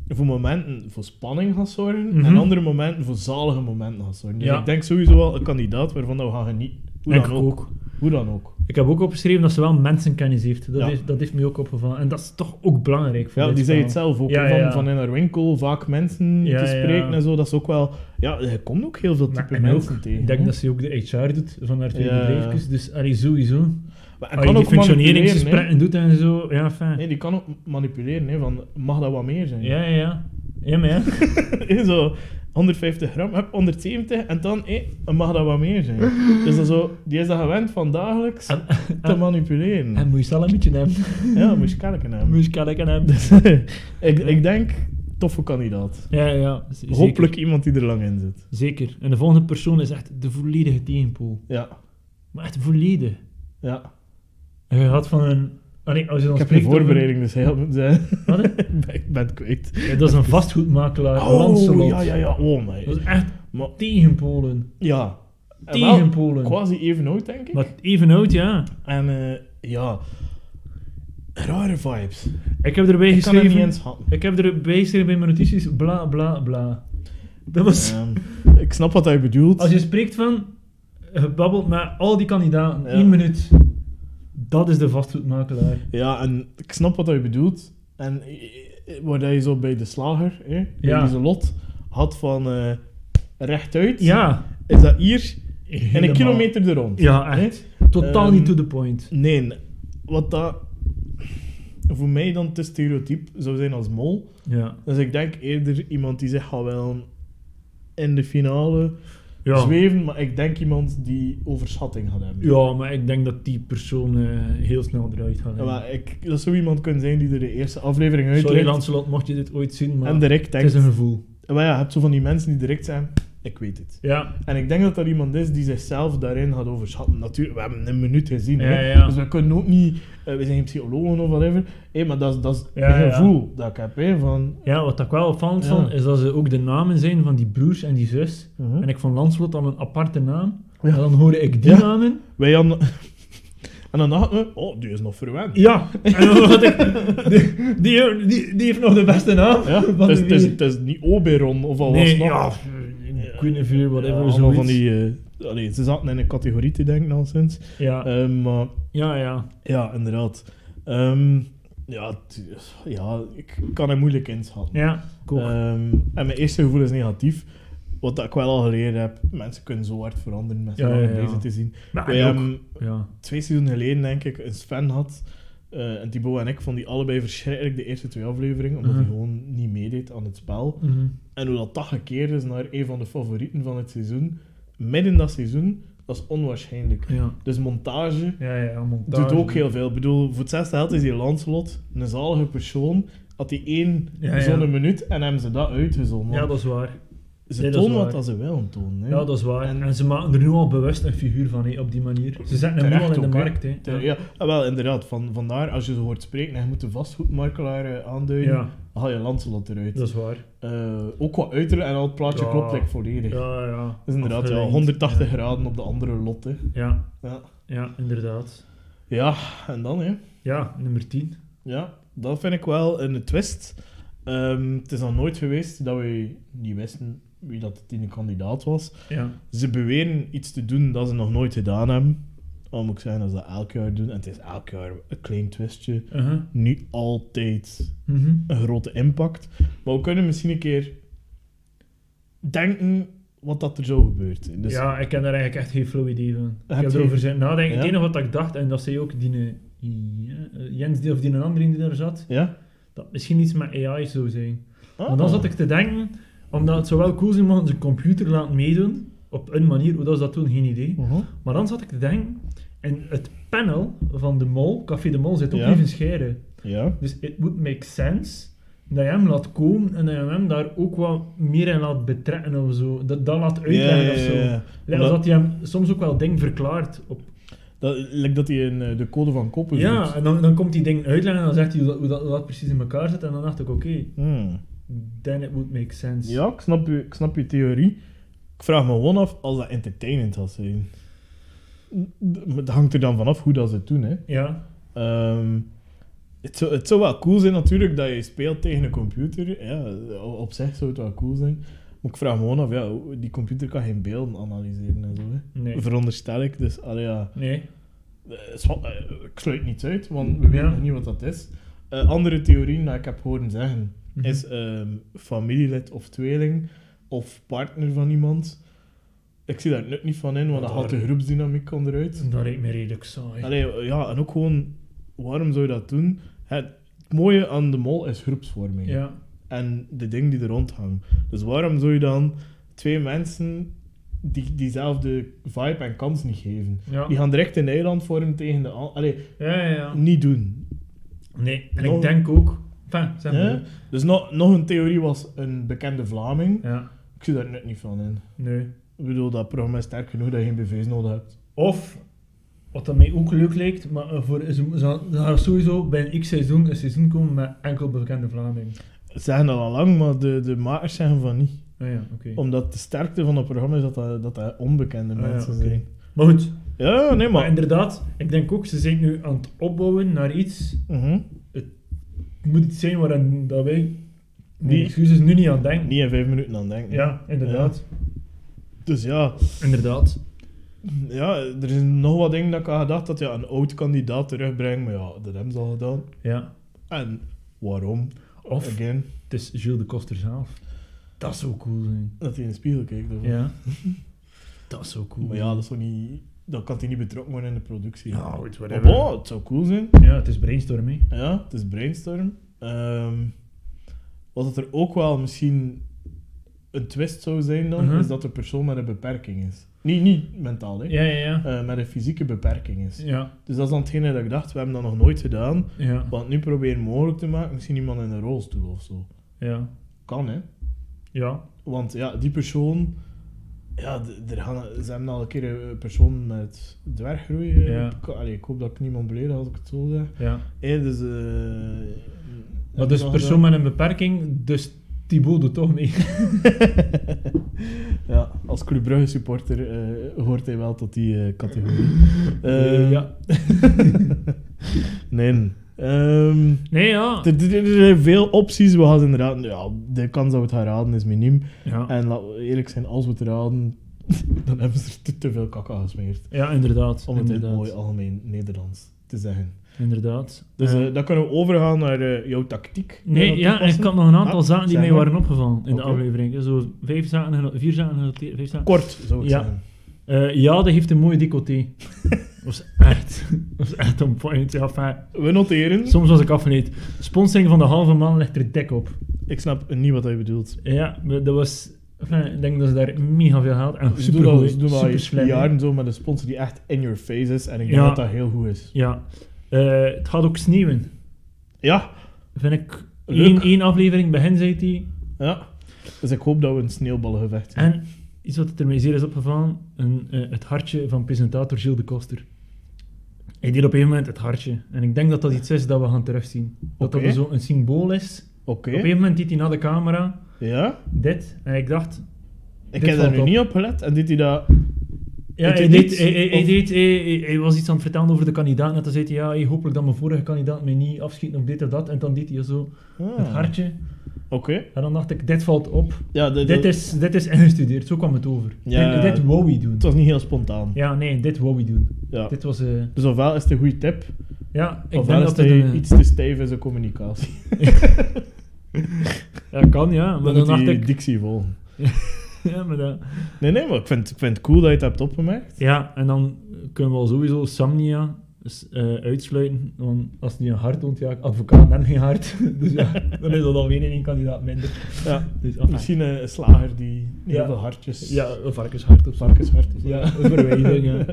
Speaker 1: voor momenten voor spanning gaat zorgen
Speaker 2: Mhm.
Speaker 1: en andere momenten voor zalige momenten gaat zorgen. Dus
Speaker 2: Ja.
Speaker 1: ik denk sowieso wel een kandidaat waarvan dat we gaan genieten. Hoe
Speaker 2: Denk
Speaker 1: dan
Speaker 2: ik
Speaker 1: ook.
Speaker 2: ook.
Speaker 1: Hoe dan ook.
Speaker 2: Ik heb ook opgeschreven dat ze wel mensenkennis heeft. Dat,
Speaker 1: Ja.
Speaker 2: heeft, dat heeft mij ook opgevallen. En dat is toch ook belangrijk voor
Speaker 1: Ja,
Speaker 2: dit
Speaker 1: die zei het
Speaker 2: spel.
Speaker 1: zelf ook.
Speaker 2: Ja,
Speaker 1: hè,
Speaker 2: ja,
Speaker 1: van,
Speaker 2: ja.
Speaker 1: van in haar winkel vaak mensen
Speaker 2: Ja,
Speaker 1: te
Speaker 2: ja.
Speaker 1: spreken en zo. Dat is ook wel... Ja, je komt ook heel veel
Speaker 2: Maar-
Speaker 1: type
Speaker 2: en
Speaker 1: mensen
Speaker 2: ook,
Speaker 1: tegen.
Speaker 2: Ik denk
Speaker 1: hè.
Speaker 2: dat ze ook de HR doet van haar twee
Speaker 1: Ja.
Speaker 2: bedrijfjes. Dus allee, sowieso.
Speaker 1: Maar hij
Speaker 2: Als je
Speaker 1: kan
Speaker 2: die
Speaker 1: ook manipuleren. hè.
Speaker 2: functioneringsgesprekken doet en zo. Ja, fijn.
Speaker 1: Nee, die kan ook manipuleren. Hè, van, mag dat wat meer zijn?
Speaker 2: Ja, ja, ja. Ja, maar ja.
Speaker 1: Hé, zo 150 gram, heb 170 en dan hé, mag dat wat meer zijn. Dus dat zo, die is dat gewend van dagelijks
Speaker 2: En-
Speaker 1: te manipuleren.
Speaker 2: En moet je salamietje nemen.
Speaker 1: ja, moet je kijken naar hem.
Speaker 2: Moet je kalken nemen.
Speaker 1: ik, ik denk, toffe kandidaat.
Speaker 2: Ja, ja. z- zeker.
Speaker 1: Hopelijk iemand die er lang in zit.
Speaker 2: Zeker. En de volgende persoon is echt de volledige tegenpool.
Speaker 1: Ja,
Speaker 2: Maar echt volledig.
Speaker 1: ja.
Speaker 2: En je had van een... Allee, als je dan
Speaker 1: ik heb geen
Speaker 2: spreekt over-
Speaker 1: voorbereiding, dus hij helpt me zijn.
Speaker 2: Wat? hè?
Speaker 1: ik ben het kwijt.
Speaker 2: Ja, dat is een vastgoedmakelaar.
Speaker 1: Oh,
Speaker 2: Lancelot.
Speaker 1: ja, ja, ja. Oh,
Speaker 2: Dat
Speaker 1: my.
Speaker 2: is echt
Speaker 1: Maar,
Speaker 2: tegen Polen.
Speaker 1: ja. En wel,
Speaker 2: Tegen Polen.
Speaker 1: Quasi even oud, denk ik.
Speaker 2: Maar even oud, ja.
Speaker 1: En eh, ja, rare vibes.
Speaker 2: Ik heb erbij
Speaker 1: Ik kan het niet
Speaker 2: geschreven...
Speaker 1: eens happen.
Speaker 2: Ik heb erbij geschreven bij mijn notities, bla bla bla. Dat was...
Speaker 1: Ehm, ik snap wat hij bedoelt.
Speaker 2: Als je spreekt van... eh, Gebabbeld met al die kandidaten,
Speaker 1: Ja.
Speaker 2: één minuut. Dat is de vastgoedmakelaar.
Speaker 1: Ja, en ik snap wat hij bedoelt. En eh, eh, waar dat je zo bij de slager, hè, bij
Speaker 2: Ja.
Speaker 1: die lot, had van eh, rechtuit,
Speaker 2: Ja.
Speaker 1: is dat hier en
Speaker 2: Helemaal.
Speaker 1: een kilometer er rond.
Speaker 2: Ja,
Speaker 1: hè.
Speaker 2: echt. Totaal
Speaker 1: Ehm,
Speaker 2: niet to the point.
Speaker 1: Nee, wat dat voor mij dan te stereotyp zou zijn als mol.
Speaker 2: Ja.
Speaker 1: Dus ik denk eerder iemand die zich gaat wel in de finale
Speaker 2: Ja.
Speaker 1: zweven, maar ik denk iemand die overschatting gaat hebben.
Speaker 2: ja, maar ik denk dat die persoon eh, heel snel eruit gaat.
Speaker 1: Ja,
Speaker 2: hè.
Speaker 1: maar ik, dat zou iemand kunnen zijn die er de eerste aflevering
Speaker 2: Sorry
Speaker 1: uitlegt
Speaker 2: Lancelot, mocht je dit ooit zien, maar
Speaker 1: en direct
Speaker 2: het is
Speaker 1: denkt...
Speaker 2: een gevoel.
Speaker 1: Maar ja, je hebt zo van die mensen die direct zijn, ik weet het.
Speaker 2: Ja,
Speaker 1: En ik denk dat er iemand is die zichzelf daarin gaat overschatten. Natuurlijk, we hebben een minuut gezien, hè.
Speaker 2: Ja, ja.
Speaker 1: dus we kunnen ook niet... eh, we zijn geen psychologen of whatever, Hé, maar dat is, dat is
Speaker 2: Ja,
Speaker 1: een
Speaker 2: ja.
Speaker 1: gevoel dat ik heb. Hè, van,
Speaker 2: Ja, wat ik wel opvallend
Speaker 1: Ja.
Speaker 2: vond, is dat ze ook de namen zijn van die broers en die zus.
Speaker 1: Mhm.
Speaker 2: En ik vond Lancelot dan een aparte naam.
Speaker 1: Ja.
Speaker 2: En dan hoorde ik die
Speaker 1: Ja.
Speaker 2: namen.
Speaker 1: Wij hadden... En dan dachten we, oh, die is nog verwend.
Speaker 2: Ja. En dan had ik... Die, die, die, die heeft nog de beste naam.
Speaker 1: Ja, het,
Speaker 2: van
Speaker 1: is,
Speaker 2: de
Speaker 1: het, is,
Speaker 2: vier.
Speaker 1: het is niet Oberon of al
Speaker 2: Nee,
Speaker 1: was het nog.
Speaker 2: ja. Queen of Fear,
Speaker 1: Ja,
Speaker 2: whatever,
Speaker 1: allemaal
Speaker 2: zoiets.
Speaker 1: van die... eh, allee, ze zaten in een categorie te denken al sinds.
Speaker 2: Ja,
Speaker 1: Ehm, maar
Speaker 2: ja, ja.
Speaker 1: Ja, inderdaad. Ehm, ja, t- ja, ik kan er moeilijk inschatten.
Speaker 2: Ja, cool.
Speaker 1: Ehm, en mijn eerste gevoel is negatief. Wat dat ik wel al geleerd heb, mensen kunnen zo hard veranderen met
Speaker 2: Ja,
Speaker 1: ja,
Speaker 2: ja, ja.
Speaker 1: deze te zien.
Speaker 2: Maar
Speaker 1: Wij
Speaker 2: ook-
Speaker 1: hebben
Speaker 2: ja.
Speaker 1: twee seizoenen geleden, denk ik, een Sven had. eh, en Thibaut en ik vonden die allebei verschrikkelijk de eerste twee afleveringen, omdat
Speaker 2: Mhm.
Speaker 1: hij gewoon niet meedeed aan het spel.
Speaker 2: Mhm.
Speaker 1: En hoe dat dat gekeerd is naar een van de favorieten van het seizoen, midden dat seizoen, dat is onwaarschijnlijk.
Speaker 2: ja.
Speaker 1: Dus montage,
Speaker 2: Ja, ja, montage.
Speaker 1: doet ook heel veel. Ik bedoel, voor het zesde geld is die Lancelot een zalige persoon. Had die één
Speaker 2: Ja, ja.
Speaker 1: zo'n minuut en hebben ze dat uitgezonden.
Speaker 2: Ja, dat is waar.
Speaker 1: ze
Speaker 2: nee, dat is
Speaker 1: tonen wat
Speaker 2: waar.
Speaker 1: dat ze willen tonen. Hè.
Speaker 2: Ja, dat is waar. En,
Speaker 1: En-
Speaker 2: ze maken er nu al bewust een figuur van, hè, op die manier. Ze zetten hem nu
Speaker 1: Terecht
Speaker 2: al in de
Speaker 1: ook, hè.
Speaker 2: markt, hè.
Speaker 1: Ter- ja, ah, wel inderdaad. Van, vandaar, als je ze hoort spreken en je moet de vastgoedmakelaar eh, aanduiden,
Speaker 2: ja,
Speaker 1: dan haal je Lancelot eruit.
Speaker 2: dat is waar.
Speaker 1: Eh, ook wat uiterlijk en al het plaatje
Speaker 2: Ja.
Speaker 1: klopt echt volledig.
Speaker 2: Ja, ja.
Speaker 1: Dat is inderdaad ja,
Speaker 2: Afgelinkt.
Speaker 1: 180
Speaker 2: Ja.
Speaker 1: graden op de andere lot. Hè.
Speaker 2: Ja,
Speaker 1: Ja.
Speaker 2: ja, inderdaad.
Speaker 1: ja, en dan hè.
Speaker 2: Ja, nummer 10.
Speaker 1: Ja, dat vind ik wel een twist. Ehm, het is nog nooit geweest dat we niet wisten wie dat de tiende kandidaat was.
Speaker 2: Ja.
Speaker 1: Ze beweren iets te doen dat ze nog nooit gedaan hebben. Al moet ik zeggen dat ze dat elk jaar doen. En het is elk jaar een klein twistje.
Speaker 2: Uh-huh.
Speaker 1: Niet altijd
Speaker 2: Mhm.
Speaker 1: een grote impact. Maar we kunnen misschien een keer denken wat dat er zo gebeurt. zijn. Dus
Speaker 2: ja, ik heb daar eigenlijk echt geen flow idee van. Ik
Speaker 1: Heb
Speaker 2: heb
Speaker 1: je-
Speaker 2: erover Nou, zitten nadenken.
Speaker 1: Ja?
Speaker 2: Het enige wat ik dacht, en dat zei ook die, eh, Ja, eh, Jens die of die een andere die daar zat,
Speaker 1: Ja?
Speaker 2: dat misschien iets met AI zou zijn.
Speaker 1: Ah.
Speaker 2: Want dan zat ik te denken, omdat het zou wel cool zijn mochten ze een computer laten meedoen, op een manier, hoe dat ze dat doen, geen idee.
Speaker 1: Mhm.
Speaker 2: Maar dan zat ik te denken, en het panel van de mol, Café de Mol, zit op
Speaker 1: Ja.
Speaker 2: even scheiden.
Speaker 1: Ja.
Speaker 2: Dus it would make sense dat je hem laat komen en dat je hem daar ook wat meer in laat betrekken of zo. Dat, dat laat
Speaker 1: Ja,
Speaker 2: uitleggen
Speaker 1: ja, ja,
Speaker 2: of zo.
Speaker 1: ja.
Speaker 2: Lijkt
Speaker 1: Omdat-
Speaker 2: alsof hij hem soms ook wel ding verklaart. Op,
Speaker 1: Dat, lijkt dat hij in eh, de code van koppen
Speaker 2: ja,
Speaker 1: doet.
Speaker 2: en dan, dan komt hij dingen uitleggen en dan zegt hij hoe dat, hoe dat, hoe dat precies in elkaar zit. En dan dacht ik, oké,
Speaker 1: Hmm.
Speaker 2: then it would make sense.
Speaker 1: Ja, ik snap, je, ik snap je theorie. Ik vraag me gewoon af als dat entertainend gaat zijn. D- maar Dat hangt er dan vanaf hoe dat ze het doen, hè.
Speaker 2: Ja,
Speaker 1: Ehm, het, zou, het zou wel cool zijn natuurlijk dat je speelt tegen een computer. Ja, o- op zich zou het wel cool zijn. Maar ik vraag me gewoon af, ja, hoe- die computer kan geen beelden analyseren en zo. Hè.
Speaker 2: nee.
Speaker 1: Veronderstel ik, dus allee, ja,
Speaker 2: Nee,
Speaker 1: eh, zwa- eh, ik sluit niets uit, want we weten
Speaker 2: Ja.
Speaker 1: nog niet wat dat is. Eh, andere theorieën die ik heb horen zeggen,
Speaker 2: Mhm.
Speaker 1: is ehm, familielid of tweeling of partner van iemand. Ik zie daar nut niet van in, want dan haalt de groepsdynamiek onderuit.
Speaker 2: dat lijkt me redelijk saai.
Speaker 1: Allee, ja, en ook gewoon, waarom zou je dat doen? Het, mooie aan de mol is groepsvorming.
Speaker 2: Ja,
Speaker 1: En de dingen die er rond hangen. Dus waarom zou je dan twee mensen die, diezelfde vibe en kans niet geven?
Speaker 2: ja.
Speaker 1: Die
Speaker 2: Ja,
Speaker 1: gaan direct een eiland vormen tegen de ander. Allee,
Speaker 2: ja, ja.
Speaker 1: niet doen.
Speaker 2: Nee, en
Speaker 1: Nog-
Speaker 2: ik denk ook... Enfin, zeg
Speaker 1: Hè?
Speaker 2: maar.
Speaker 1: Dus nog nog een theorie was een bekende Vlaming.
Speaker 2: Ja,
Speaker 1: Ik zie daar net niet van in.
Speaker 2: nee.
Speaker 1: Ik bedoel, dat programma is sterk genoeg dat je geen BV's nodig hebt.
Speaker 2: Of, wat dat mij ook leuk lijkt, maar eh, voor, ze, ze, ze gaan sowieso bij een X-seizoen een seizoen komen met enkel bekende Vlamingen.
Speaker 1: Ze zeggen dat al lang, maar de, de makers zeggen van niet.
Speaker 2: Ah ja, oké.
Speaker 1: Omdat de sterkte van het programma is dat dat, dat, dat onbekende
Speaker 2: Ah ja,
Speaker 1: mensen
Speaker 2: oké.
Speaker 1: zijn.
Speaker 2: Maar goed,
Speaker 1: Ja, nee,
Speaker 2: maar
Speaker 1: maar...
Speaker 2: inderdaad, ik denk ook, ze zijn nu aan het opbouwen naar iets.
Speaker 1: Mhm.
Speaker 2: Het moet iets zijn waarin dat wij die
Speaker 1: Nee.
Speaker 2: excuses nu niet aan denken.
Speaker 1: Niet in vijf minuten aan denken.
Speaker 2: Ja, inderdaad.
Speaker 1: Dus ja,
Speaker 2: Inderdaad.
Speaker 1: ja, er zijn nog wat dingen dat ik had gedacht dat ja, een oud kandidaat terugbrengt. Maar ja, dat hebben ze al gedaan.
Speaker 2: Ja.
Speaker 1: En waarom?
Speaker 2: Of,
Speaker 1: Again,
Speaker 2: het is Jules de Koster zelf. Dat zou cool zijn.
Speaker 1: dat hij in de spiegel kijkt. of-
Speaker 2: Ja. dat zou cool
Speaker 1: Maar ja, dat is toch niet... Dan kan hij niet betrokken worden in de productie.
Speaker 2: Ja, goed,
Speaker 1: maar
Speaker 2: whatever.
Speaker 1: bon, het zou cool zijn.
Speaker 2: Ja, het is brainstorming.
Speaker 1: Ja, het is brainstorm. Ehm, wat dat er ook wel misschien een twist zou zijn dan,
Speaker 2: Mhm.
Speaker 1: is dat de persoon met een beperking is. Niet, niet mentaal, hè.
Speaker 2: Ja, ja, ja.
Speaker 1: Eh, met een fysieke beperking is.
Speaker 2: Ja,
Speaker 1: Dus dat is dan hetgene dat ik dacht, we hebben dat nog nooit gedaan.
Speaker 2: ja,
Speaker 1: Want nu proberen mogelijk te maken, misschien iemand in een rolstoel of zo.
Speaker 2: ja.
Speaker 1: Kan, hè.
Speaker 2: Ja,
Speaker 1: Want ja, die persoon... Ja, d- er gaan, ze hebben al een keer een persoon met dwerggroei. eh,
Speaker 2: Ja.
Speaker 1: ik- Allee, ik hoop dat ik niemand beledig als ik het zo zeg.
Speaker 2: ja.
Speaker 1: Hey, dus, eh,
Speaker 2: Maar
Speaker 1: heb
Speaker 2: dus
Speaker 1: je nog eh,
Speaker 2: persoon met een beperking, dus Thibaut doet toch mee.
Speaker 1: ja, als Club Brugge supporter eh, hoort hij wel tot die eh, categorie. Eh,
Speaker 2: ja.
Speaker 1: nee. Ehm,
Speaker 2: Nee, ja.
Speaker 1: er, er- er zijn veel opties. We gaan inderdaad... Ja, de kans dat we het gaan raden is miniem.
Speaker 2: ja.
Speaker 1: En laten we eerlijk zijn, als we het raden, dan hebben ze er te, te veel kakka gesmeerd.
Speaker 2: Ja, inderdaad.
Speaker 1: Om het in
Speaker 2: inderdaad.
Speaker 1: mooi algemeen Nederlands te zeggen.
Speaker 2: Inderdaad.
Speaker 1: Dus
Speaker 2: Eh,
Speaker 1: eh, dan kunnen we overgaan naar eh, jouw tactiek.
Speaker 2: nee,
Speaker 1: Eh,
Speaker 2: ja, en ik
Speaker 1: toepassen.
Speaker 2: had nog een aantal
Speaker 1: Ah,
Speaker 2: zaken die
Speaker 1: zeg
Speaker 2: mij
Speaker 1: maar.
Speaker 2: waren opgevallen in
Speaker 1: Oké.
Speaker 2: de aflevering. Zo vijf zaken, geno- vier zaken genoteerd, vijf zaken.
Speaker 1: Kort, zou ik
Speaker 2: Ja.
Speaker 1: zeggen.
Speaker 2: Eh, ja, dat heeft een mooie decoté. Dat was echt, dat was echt on point. Ja, enfin,
Speaker 1: We noteren.
Speaker 2: soms was ik afgeleid. Sponsoring van de halve man ligt er dik op.
Speaker 1: Ik snap niet wat hij bedoelt.
Speaker 2: Ja, maar dat was... enfin, ik denk dat ze daar mega veel geld en
Speaker 1: Ze doen al,
Speaker 2: super
Speaker 1: ze doen al
Speaker 2: super slim.
Speaker 1: jaren zo met een sponsor die echt in your face is. En ik denk
Speaker 2: Ja.
Speaker 1: dat dat heel goed is.
Speaker 2: Ja. Eh, het gaat ook sneeuwen.
Speaker 1: Ja,
Speaker 2: Vind ik
Speaker 1: Leuk.
Speaker 2: één, één aflevering bij hen, zei hij.
Speaker 1: ja. Dus ik hoop dat we een sneeuwballengevecht hebben.
Speaker 2: En iets wat er mij zeer is opgevallen, een, eh, het hartje van presentator Gilles de Koster. Hij deed op een moment het hartje. En ik denk dat dat iets is dat we gaan terugzien. Dat
Speaker 1: Oké.
Speaker 2: dat zo een symbool is.
Speaker 1: Oké.
Speaker 2: Op een gegeven moment deed hij naar de camera
Speaker 1: Ja.
Speaker 2: dit. En ik dacht...
Speaker 1: Ik
Speaker 2: Dit
Speaker 1: heb daar
Speaker 2: valt
Speaker 1: nu
Speaker 2: op.
Speaker 1: niet op gelet. En dit hij dat...
Speaker 2: Ja,
Speaker 1: Deed
Speaker 2: hij,
Speaker 1: hij
Speaker 2: deed,
Speaker 1: niets?
Speaker 2: hij, hij- hij
Speaker 1: Of-
Speaker 2: deed, hij, hij- hij was iets aan het vertellen over de kandidaat. En toen zei hij, ja, hey, hopelijk dat mijn vorige kandidaat mij niet afschiet of dit of dat. En dan deed hij zo
Speaker 1: Ah,
Speaker 2: het hartje.
Speaker 1: Oké.
Speaker 2: En dan dacht ik, dit valt op.
Speaker 1: Ja, dit,
Speaker 2: Dit is, dit is ingestudeerd, zo kwam het over.
Speaker 1: Ja.
Speaker 2: Dit, dit wou we doen.
Speaker 1: Het was niet heel spontaan.
Speaker 2: Ja, nee, dit wou we doen.
Speaker 1: Ja.
Speaker 2: Dit was... eh,
Speaker 1: Dus ofwel is het een goede tip,
Speaker 2: Ja, ik
Speaker 1: ofwel
Speaker 2: denk
Speaker 1: is
Speaker 2: dat
Speaker 1: hij
Speaker 2: het een... eh,
Speaker 1: iets te stijf is in communicatie.
Speaker 2: Ja, kan ja, maar
Speaker 1: eh, Dan
Speaker 2: dan
Speaker 1: moet
Speaker 2: dacht
Speaker 1: hij
Speaker 2: ik...
Speaker 1: dictie volgen.
Speaker 2: Ja, maar dat...
Speaker 1: Nee, nee, maar ik vind, ik vind het cool dat je het hebt opgemerkt.
Speaker 2: ja, en dan kunnen we al sowieso Samnia Dus eh, uitsluiten, want als die een hart toont, ja, advocaat en geen hart. dus ja, dan is dat alweer één kandidaat minder.
Speaker 1: Ja.
Speaker 2: Dus af.
Speaker 1: Misschien een een slager die heel
Speaker 2: Ja.
Speaker 1: veel hartjes...
Speaker 2: Ja, een varkenshart of zo.
Speaker 1: varkenshart of zo.
Speaker 2: Ja, een verwijzing, ja.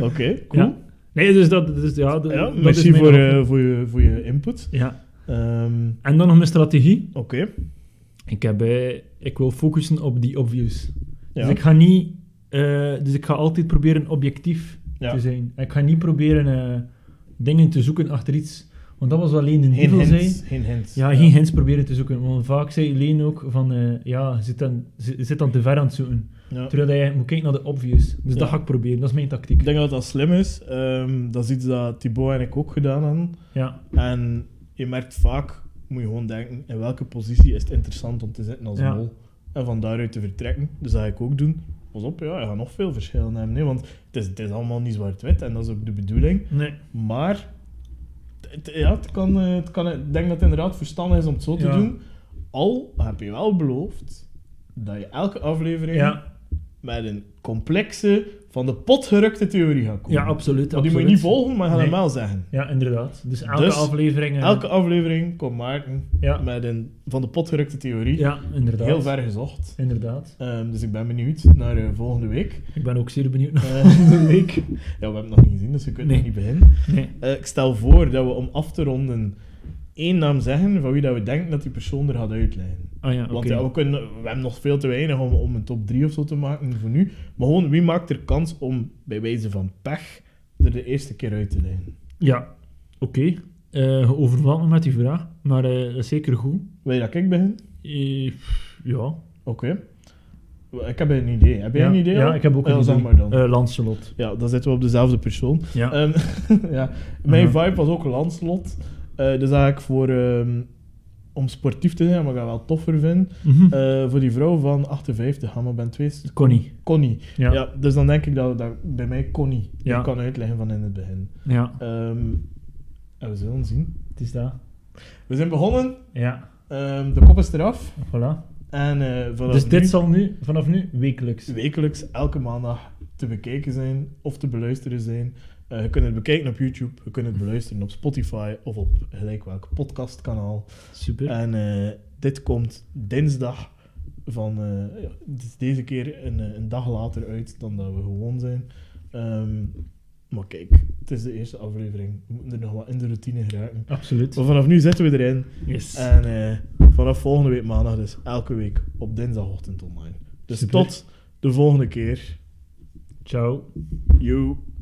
Speaker 1: Oké, cool.
Speaker 2: Ja. Nee, dus dat, dus, ja, de-
Speaker 1: Ja,
Speaker 2: dat is
Speaker 1: merci
Speaker 2: mijn
Speaker 1: voor,
Speaker 2: antwoord.
Speaker 1: eh, voor, je, voor je input.
Speaker 2: Ja.
Speaker 1: Ehm,
Speaker 2: En dan nog mijn strategie.
Speaker 1: Oké.
Speaker 2: Ik, heb, eh, ik wil focussen op die obvious.
Speaker 1: Ja.
Speaker 2: Dus ik ga niet... eh, dus ik ga altijd proberen objectief
Speaker 1: Ja.
Speaker 2: te zijn. dus Ik ga niet proberen eh, dingen te zoeken achter iets. Want dat was wat Leen de
Speaker 1: Geen
Speaker 2: Nevel zei.
Speaker 1: hints. Geen hints.
Speaker 2: Ja, geen hints proberen te zoeken. Want vaak zei Leen ook van... eh, ja, je zit dan, je zit dan te ver aan het zoeken.
Speaker 1: Ja.
Speaker 2: Terwijl je moet kijken naar de obvious. Dus
Speaker 1: Ja.
Speaker 2: dat ga ik proberen. Dat is mijn tactiek.
Speaker 1: Ik denk dat dat slim is. Ehm, dat is iets dat Thibaut en ik ook gedaan hebben.
Speaker 2: Ja,
Speaker 1: En je merkt vaak, moet je gewoon denken, in welke positie is het interessant om te zitten als
Speaker 2: Ja.
Speaker 1: mol. En van daaruit te vertrekken. Dus dat ga ik ook doen. Pas op, ja, je gaat nog veel verschillen hebben. Nee, want het is, het is allemaal niet zwart-wit en dat is ook de bedoeling.
Speaker 2: nee.
Speaker 1: Maar het, ja, het kan, eh, het kan, ik denk dat het inderdaad verstandig is om het zo te
Speaker 2: Ja.
Speaker 1: doen. Al heb je wel beloofd dat je elke aflevering
Speaker 2: Ja,
Speaker 1: met een complexe, van de pot gerukte theorie gaat komen.
Speaker 2: ja absoluut.
Speaker 1: Want die moet je
Speaker 2: absoluut.
Speaker 1: niet volgen, maar je gaat hem
Speaker 2: Nee.
Speaker 1: wel zeggen.
Speaker 2: Ja, inderdaad. Dus elke
Speaker 1: Dus,
Speaker 2: aflevering... eh,
Speaker 1: Elke aflevering komt Maarten
Speaker 2: Ja.
Speaker 1: met een van de pot gerukte theorie.
Speaker 2: Ja, inderdaad.
Speaker 1: Heel ver gezocht.
Speaker 2: Inderdaad.
Speaker 1: Ehm, dus ik ben benieuwd naar eh, volgende week.
Speaker 2: Ik ben ook zeer benieuwd naar
Speaker 1: Eh, week. Ja, we hebben het nog niet gezien, dus we kunnen
Speaker 2: Nee.
Speaker 1: nog niet beginnen.
Speaker 2: Nee.
Speaker 1: Eh, ik stel voor dat we om af te ronden één naam zeggen van wie dat we denken dat die persoon er gaat uitleggen.
Speaker 2: Ah ja, oké.
Speaker 1: Want ja, we, kunnen, we hebben nog veel te weinig om, om een top 3 of zo te maken voor nu. Maar gewoon, wie maakt er kans om bij wijze van pech er de eerste keer uit te lijnen?
Speaker 2: Ja, oké. Eh, je overvalt me met die vraag, maar eh, dat is zeker goed.
Speaker 1: Wil je dat ik begin?
Speaker 2: Eh, pff, ja.
Speaker 1: Oké. Ik heb een idee. Heb jij
Speaker 2: ja.
Speaker 1: een idee?
Speaker 2: Ja,
Speaker 1: al?
Speaker 2: ik heb ook
Speaker 1: Ja,
Speaker 2: een
Speaker 1: zeg
Speaker 2: idee.
Speaker 1: maar dan.
Speaker 2: Eh, Lancelot.
Speaker 1: Ja, dan zitten we op dezelfde persoon.
Speaker 2: Ja. Mhm.
Speaker 1: Ehm, ja. Mijn
Speaker 2: Aha.
Speaker 1: vibe was ook Lanslot. Eh dus eigenlijk voor... ehm, om sportief te zijn, maar ik ga wel toffer vinden.
Speaker 2: Mhm.
Speaker 1: Eh, voor die vrouw van 58, Hamma Ben 2,
Speaker 2: Connie.
Speaker 1: Connie. Ja.
Speaker 2: Ja. Ja.
Speaker 1: dus dan denk ik dat, dat bij mij Connie die
Speaker 2: Ja.
Speaker 1: kan uitleggen van in het begin. Ehm, en we zullen zien.
Speaker 2: het is dat.
Speaker 1: We zijn begonnen.
Speaker 2: Ja,
Speaker 1: Ehm, de kop is eraf.
Speaker 2: voilà.
Speaker 1: En eh vanaf
Speaker 2: dus dit
Speaker 1: nu
Speaker 2: zal nu, vanaf nu, wekelijks.
Speaker 1: wekelijks elke maandag te bekijken zijn of te beluisteren zijn. Eh, je kunt het bekijken op YouTube, je kunt het beluisteren op Spotify of op gelijk welk podcastkanaal.
Speaker 2: Super.
Speaker 1: En eh, dit komt dinsdag van... eh, ja, het is deze keer een, eh, een dag later uit dan dat we gewoon zijn. Ehm, maar kijk, het is de eerste aflevering. We moeten er nog wat in de routine geraken.
Speaker 2: Absoluut.
Speaker 1: Maar vanaf nu zitten we erin.
Speaker 2: Yes.
Speaker 1: En eh, vanaf volgende week maandag dus elke week op dinsdagochtend online. Dus
Speaker 2: Super.
Speaker 1: tot de volgende keer.
Speaker 2: Ciao.
Speaker 1: Yo.